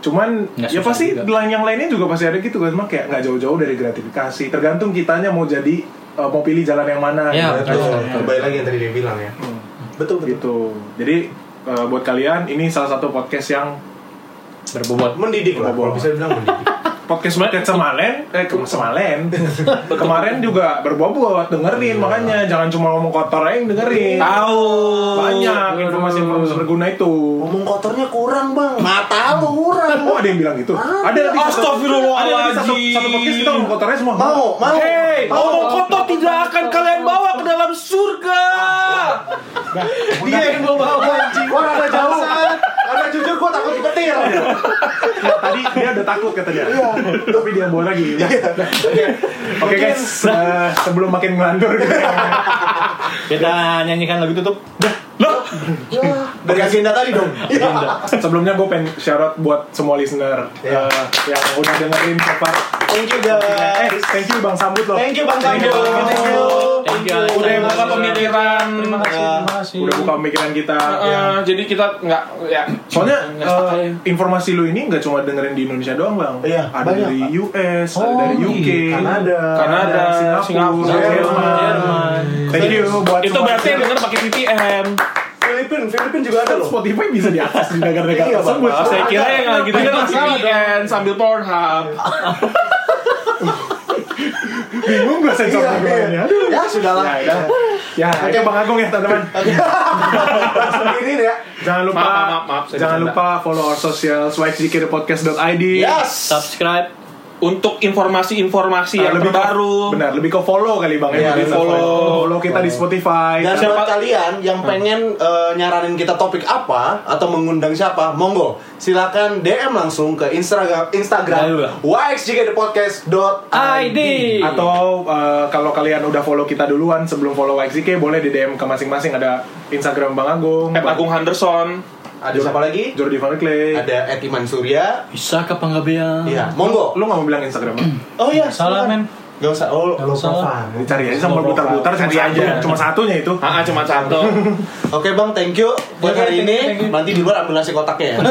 Speaker 4: cuman
Speaker 5: Nggak
Speaker 4: ya
Speaker 5: susah
Speaker 4: pasti
Speaker 5: juga.
Speaker 4: line yang lainnya juga pasti ada gitu kan cuma kayak nggak jauh-jauh dari gratifikasi tergantung kitanya mau jadi eh, mau pilih jalan yang mana
Speaker 5: Ya,
Speaker 1: Ah,
Speaker 4: gitu.
Speaker 5: betul.
Speaker 1: kembali lagi yang tadi dia bilang ya betul betul
Speaker 4: gitu jadi eh, buat kalian ini salah satu podcast yang
Speaker 5: Berbobot.
Speaker 1: mendidik lah kalau bisa bilang [laughs] mendidik
Speaker 4: podcast podcast semalen eh ke-
Speaker 1: [laughs]
Speaker 4: semalen kemarin juga berbobot
Speaker 1: Iya.
Speaker 4: dengerin makanya jangan cuma ngomong kotor aja yang dengerin
Speaker 3: Tahu.
Speaker 4: banyak informasi-informasi berguna itu
Speaker 1: ngomong kotornya kurang bang mata lu kurang
Speaker 4: oh ada yang bilang gitu ada nanti satu- ada nanti satu,
Speaker 3: Astagfirullahaladzim.
Speaker 4: satu podcast kita ngomong kotornya semua
Speaker 1: mau mau
Speaker 3: Hei, omong kotor tidak akan kalian bawa ke dalam surga.
Speaker 7: Dia yang gue bawa anjing.
Speaker 1: gua rada jauh karena jujur gua takut dipetir
Speaker 4: Ya, tadi dia udah takut kata dia
Speaker 1: Iya.
Speaker 4: tapi dia mau lagi oke guys eh, sebelum makin
Speaker 1: [laughs]
Speaker 4: ngelantur gitu ya.
Speaker 5: Kita nyanyikan lagu tutup.
Speaker 1: dari agenda tadi [laughs] dong
Speaker 4: sebelumnya gue pengen shout out buat semua listener
Speaker 1: Iya.
Speaker 4: eh, yang udah dengerin so far
Speaker 1: thank you guys
Speaker 4: Eh, thank you Bang Sambut loh.
Speaker 1: Thank you Bang
Speaker 4: Thank
Speaker 1: Sambo.
Speaker 4: you, Bang
Speaker 1: Thank you.
Speaker 5: Thank you.
Speaker 3: Udah
Speaker 5: Thank you.
Speaker 3: buka pemikiran.
Speaker 6: terima kasih terima kasih
Speaker 4: Udah buka pemikiran kita.
Speaker 1: Iya.
Speaker 4: ya.
Speaker 3: Eh, jadi kita nggak ya.
Speaker 4: Soalnya
Speaker 3: Nggak
Speaker 4: eh,
Speaker 3: sepakai.
Speaker 4: informasi lu ini nggak cuma dengerin di Indonesia doang bang.
Speaker 1: Iya,
Speaker 4: ada
Speaker 1: banyak, Pak.
Speaker 4: dari
Speaker 1: Oh, iya.
Speaker 4: US, ada dari UK,
Speaker 1: Kanada
Speaker 3: Kanada,
Speaker 4: Singapura,
Speaker 3: Singapura, Iya.
Speaker 4: Jerman.
Speaker 3: Jerman.
Speaker 4: Thank you
Speaker 1: Iya.
Speaker 4: buat
Speaker 3: Itu
Speaker 4: semua
Speaker 3: berarti yang denger pakai VPN.
Speaker 1: Filipin Filipin juga ada loh
Speaker 4: Kan Spotify bisa diakses di negara-negara
Speaker 1: Iya,
Speaker 4: tersebut.
Speaker 3: Oh, saya kira yang kan lagi
Speaker 4: Tidak
Speaker 3: denger
Speaker 4: masalah dong.
Speaker 3: VPN sambil Pornhub.
Speaker 4: bingung gue sensor
Speaker 1: Iya,
Speaker 4: bagaimana.
Speaker 1: iya.
Speaker 4: Aduh.
Speaker 1: ya sudah lah
Speaker 4: Ya, udah. Ya, itu Bang Agung ya teman-teman.
Speaker 1: sendiri deh ya
Speaker 4: Jangan lupa,
Speaker 3: Maaf, maaf, maaf, saya
Speaker 4: jangan
Speaker 3: bercanda.
Speaker 4: lupa follow our social swipezikirpodcast.id.
Speaker 1: yes
Speaker 5: Subscribe.
Speaker 3: Untuk informasi-informasi yang
Speaker 4: lebih ke-
Speaker 3: iya, terbaru.
Speaker 4: benar, lebih ke follow kali bang. ya.
Speaker 1: Iya,
Speaker 4: lebih
Speaker 1: lebih follow.
Speaker 4: follow kita di Spotify.
Speaker 1: Dan buat kalian yang
Speaker 6: Hmm.
Speaker 1: pengen eh, nyaranin kita topik apa atau mengundang siapa, monggo silakan DM langsung ke Instagram
Speaker 6: Nah,
Speaker 5: Ayo,
Speaker 1: Instagram
Speaker 6: Ah.
Speaker 1: yxjkdpodcast.id.
Speaker 4: Atau eh, kalau kalian udah follow kita duluan sebelum follow YXK boleh di DM ke masing-masing ada Instagram Bang Agung,
Speaker 3: At Agung Henderson.
Speaker 1: Ada siapa lagi?
Speaker 4: Jordi Van Clay.
Speaker 1: Ada Ed Iman Surya.
Speaker 5: Bisa ke penggabean.
Speaker 1: Iya, monggo.
Speaker 4: Lu nggak mau bilang Instagram? Bang?
Speaker 1: Oh iya,
Speaker 6: Hmm. salah men
Speaker 1: Gak usah. Oh,
Speaker 6: Nggak usah.
Speaker 4: Ini cari aja sambil putar-putar cari aja. Cuma satunya itu.
Speaker 3: Ah, ah, cuma satu. [laughs]
Speaker 1: Oke Bang, thank you buat
Speaker 6: Oke,
Speaker 1: hari
Speaker 6: Iya, thank you, thank
Speaker 1: ini.
Speaker 6: you. Iya,
Speaker 1: Nanti di luar ambil nasi
Speaker 6: [laughs]
Speaker 1: kotaknya ya.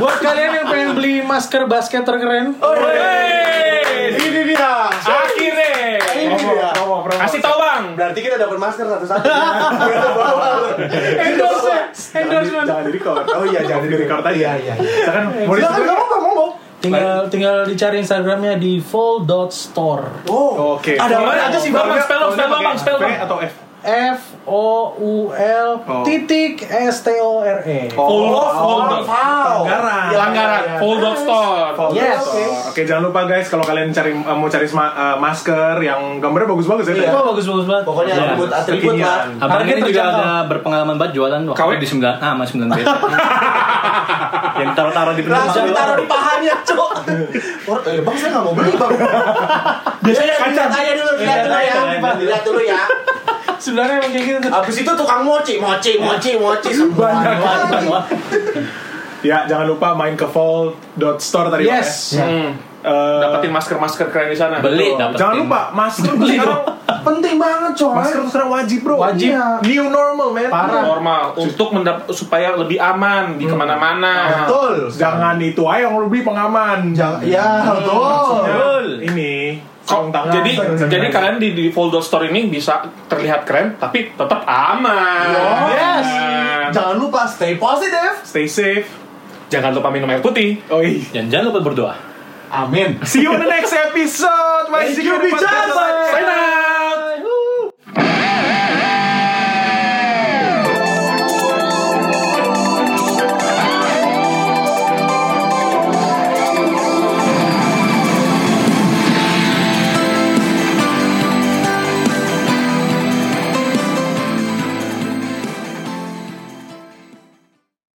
Speaker 6: buat kalian yang pengen beli masker basket terkeren iya.
Speaker 3: Wey!
Speaker 1: Ini dia.
Speaker 3: Akhirnya.
Speaker 1: Ini dia.
Speaker 4: Promo, promo.
Speaker 3: Kasih tau bang.
Speaker 1: Berarti kita dapat masker
Speaker 6: [laughs]
Speaker 1: satu-satu. Kita bawa lu.
Speaker 6: endorsement endorsement
Speaker 4: Jangan di record.
Speaker 1: Oh iya, jangan
Speaker 4: di record aja.
Speaker 1: Iya, iya. iya.
Speaker 4: Kita kan mau di
Speaker 1: Silakan kamu apa monggo.
Speaker 6: tinggal tinggal dicari instagramnya di full.store
Speaker 1: Oh,
Speaker 4: Oke.
Speaker 1: ada apa
Speaker 3: Gimana
Speaker 6: Oh.
Speaker 1: aja sih?
Speaker 3: Bang, bang, spell dong, spell dong, bang, spell
Speaker 4: P
Speaker 3: dong.
Speaker 4: atau F?
Speaker 6: F O U L titik S T O R E.
Speaker 3: Full of Fold of
Speaker 4: Pelanggaran.
Speaker 3: Pelanggaran Fold of Store
Speaker 6: Yes.
Speaker 4: Oke, Oke, jangan lupa guys kalau kalian cari eh, mau cari sma- eh, masker yang gambarnya bagus-bagus ya.
Speaker 1: Iya.
Speaker 4: Dad?
Speaker 6: bagus-bagus Oh, banget.
Speaker 1: Pokoknya ah,
Speaker 5: Iya.
Speaker 1: atribut atribut lah.
Speaker 7: Iya.
Speaker 4: Kekinian.
Speaker 5: Abang
Speaker 6: Target
Speaker 5: ini juga
Speaker 6: terjangkau.
Speaker 5: ada berpengalaman banget jualan waktu
Speaker 3: Kawin.
Speaker 5: di 9 A sama
Speaker 4: [laughs]
Speaker 5: 9 B. yang taruh-taruh di
Speaker 7: Iya.
Speaker 1: Langsung taruh di pahanya, Cok.
Speaker 7: Orang, eh, bang saya nggak mau beli bang.
Speaker 1: Biasanya kacang. Dilihat aja iya, dulu,
Speaker 7: Iya,
Speaker 1: dilihat dulu ya. Dilihat dulu ya.
Speaker 3: Sebenarnya emang kayak gitu tuh.
Speaker 1: Abis itu tukang moci,
Speaker 7: Iya.
Speaker 1: moci, moci, moci.
Speaker 4: Banyak.
Speaker 1: Banyak.
Speaker 4: Ya, jangan lupa main ke fall.store tadi Pak,
Speaker 6: Yes.
Speaker 4: ya.
Speaker 3: Hmm.
Speaker 4: Eh,
Speaker 3: Dapetin masker-masker keren di sana
Speaker 5: Beli
Speaker 4: betul.
Speaker 5: dapetin.
Speaker 4: Jangan lupa masker tuh sekarang
Speaker 7: Penting banget coy.
Speaker 4: masker tuh sekarang wajib, Bro.
Speaker 6: Wajib.
Speaker 4: Iya. New normal, man.
Speaker 3: normal untuk mendap supaya lebih aman di kemana-mana
Speaker 7: Betul.
Speaker 4: Jangan itu ayo yang lebih pengaman.
Speaker 7: Jangan. Ya
Speaker 1: Hmm.
Speaker 7: betul.
Speaker 5: Betul.
Speaker 4: Ini
Speaker 3: Kok-
Speaker 4: sarung tangan.
Speaker 3: jadi
Speaker 4: sarung
Speaker 3: jadi
Speaker 4: tangan.
Speaker 3: kalian di, di Foldo Store ini bisa terlihat keren tapi tetap aman.
Speaker 1: Iya.
Speaker 7: Yes. Jangan lupa stay positive.
Speaker 4: stay safe.
Speaker 3: Jangan lupa minum air putih.
Speaker 4: Oi.
Speaker 5: Dan jangan lupa berdoa.
Speaker 7: Amin.
Speaker 4: See you in the next episode. My
Speaker 7: Thank you,
Speaker 4: Secret
Speaker 7: Bicara.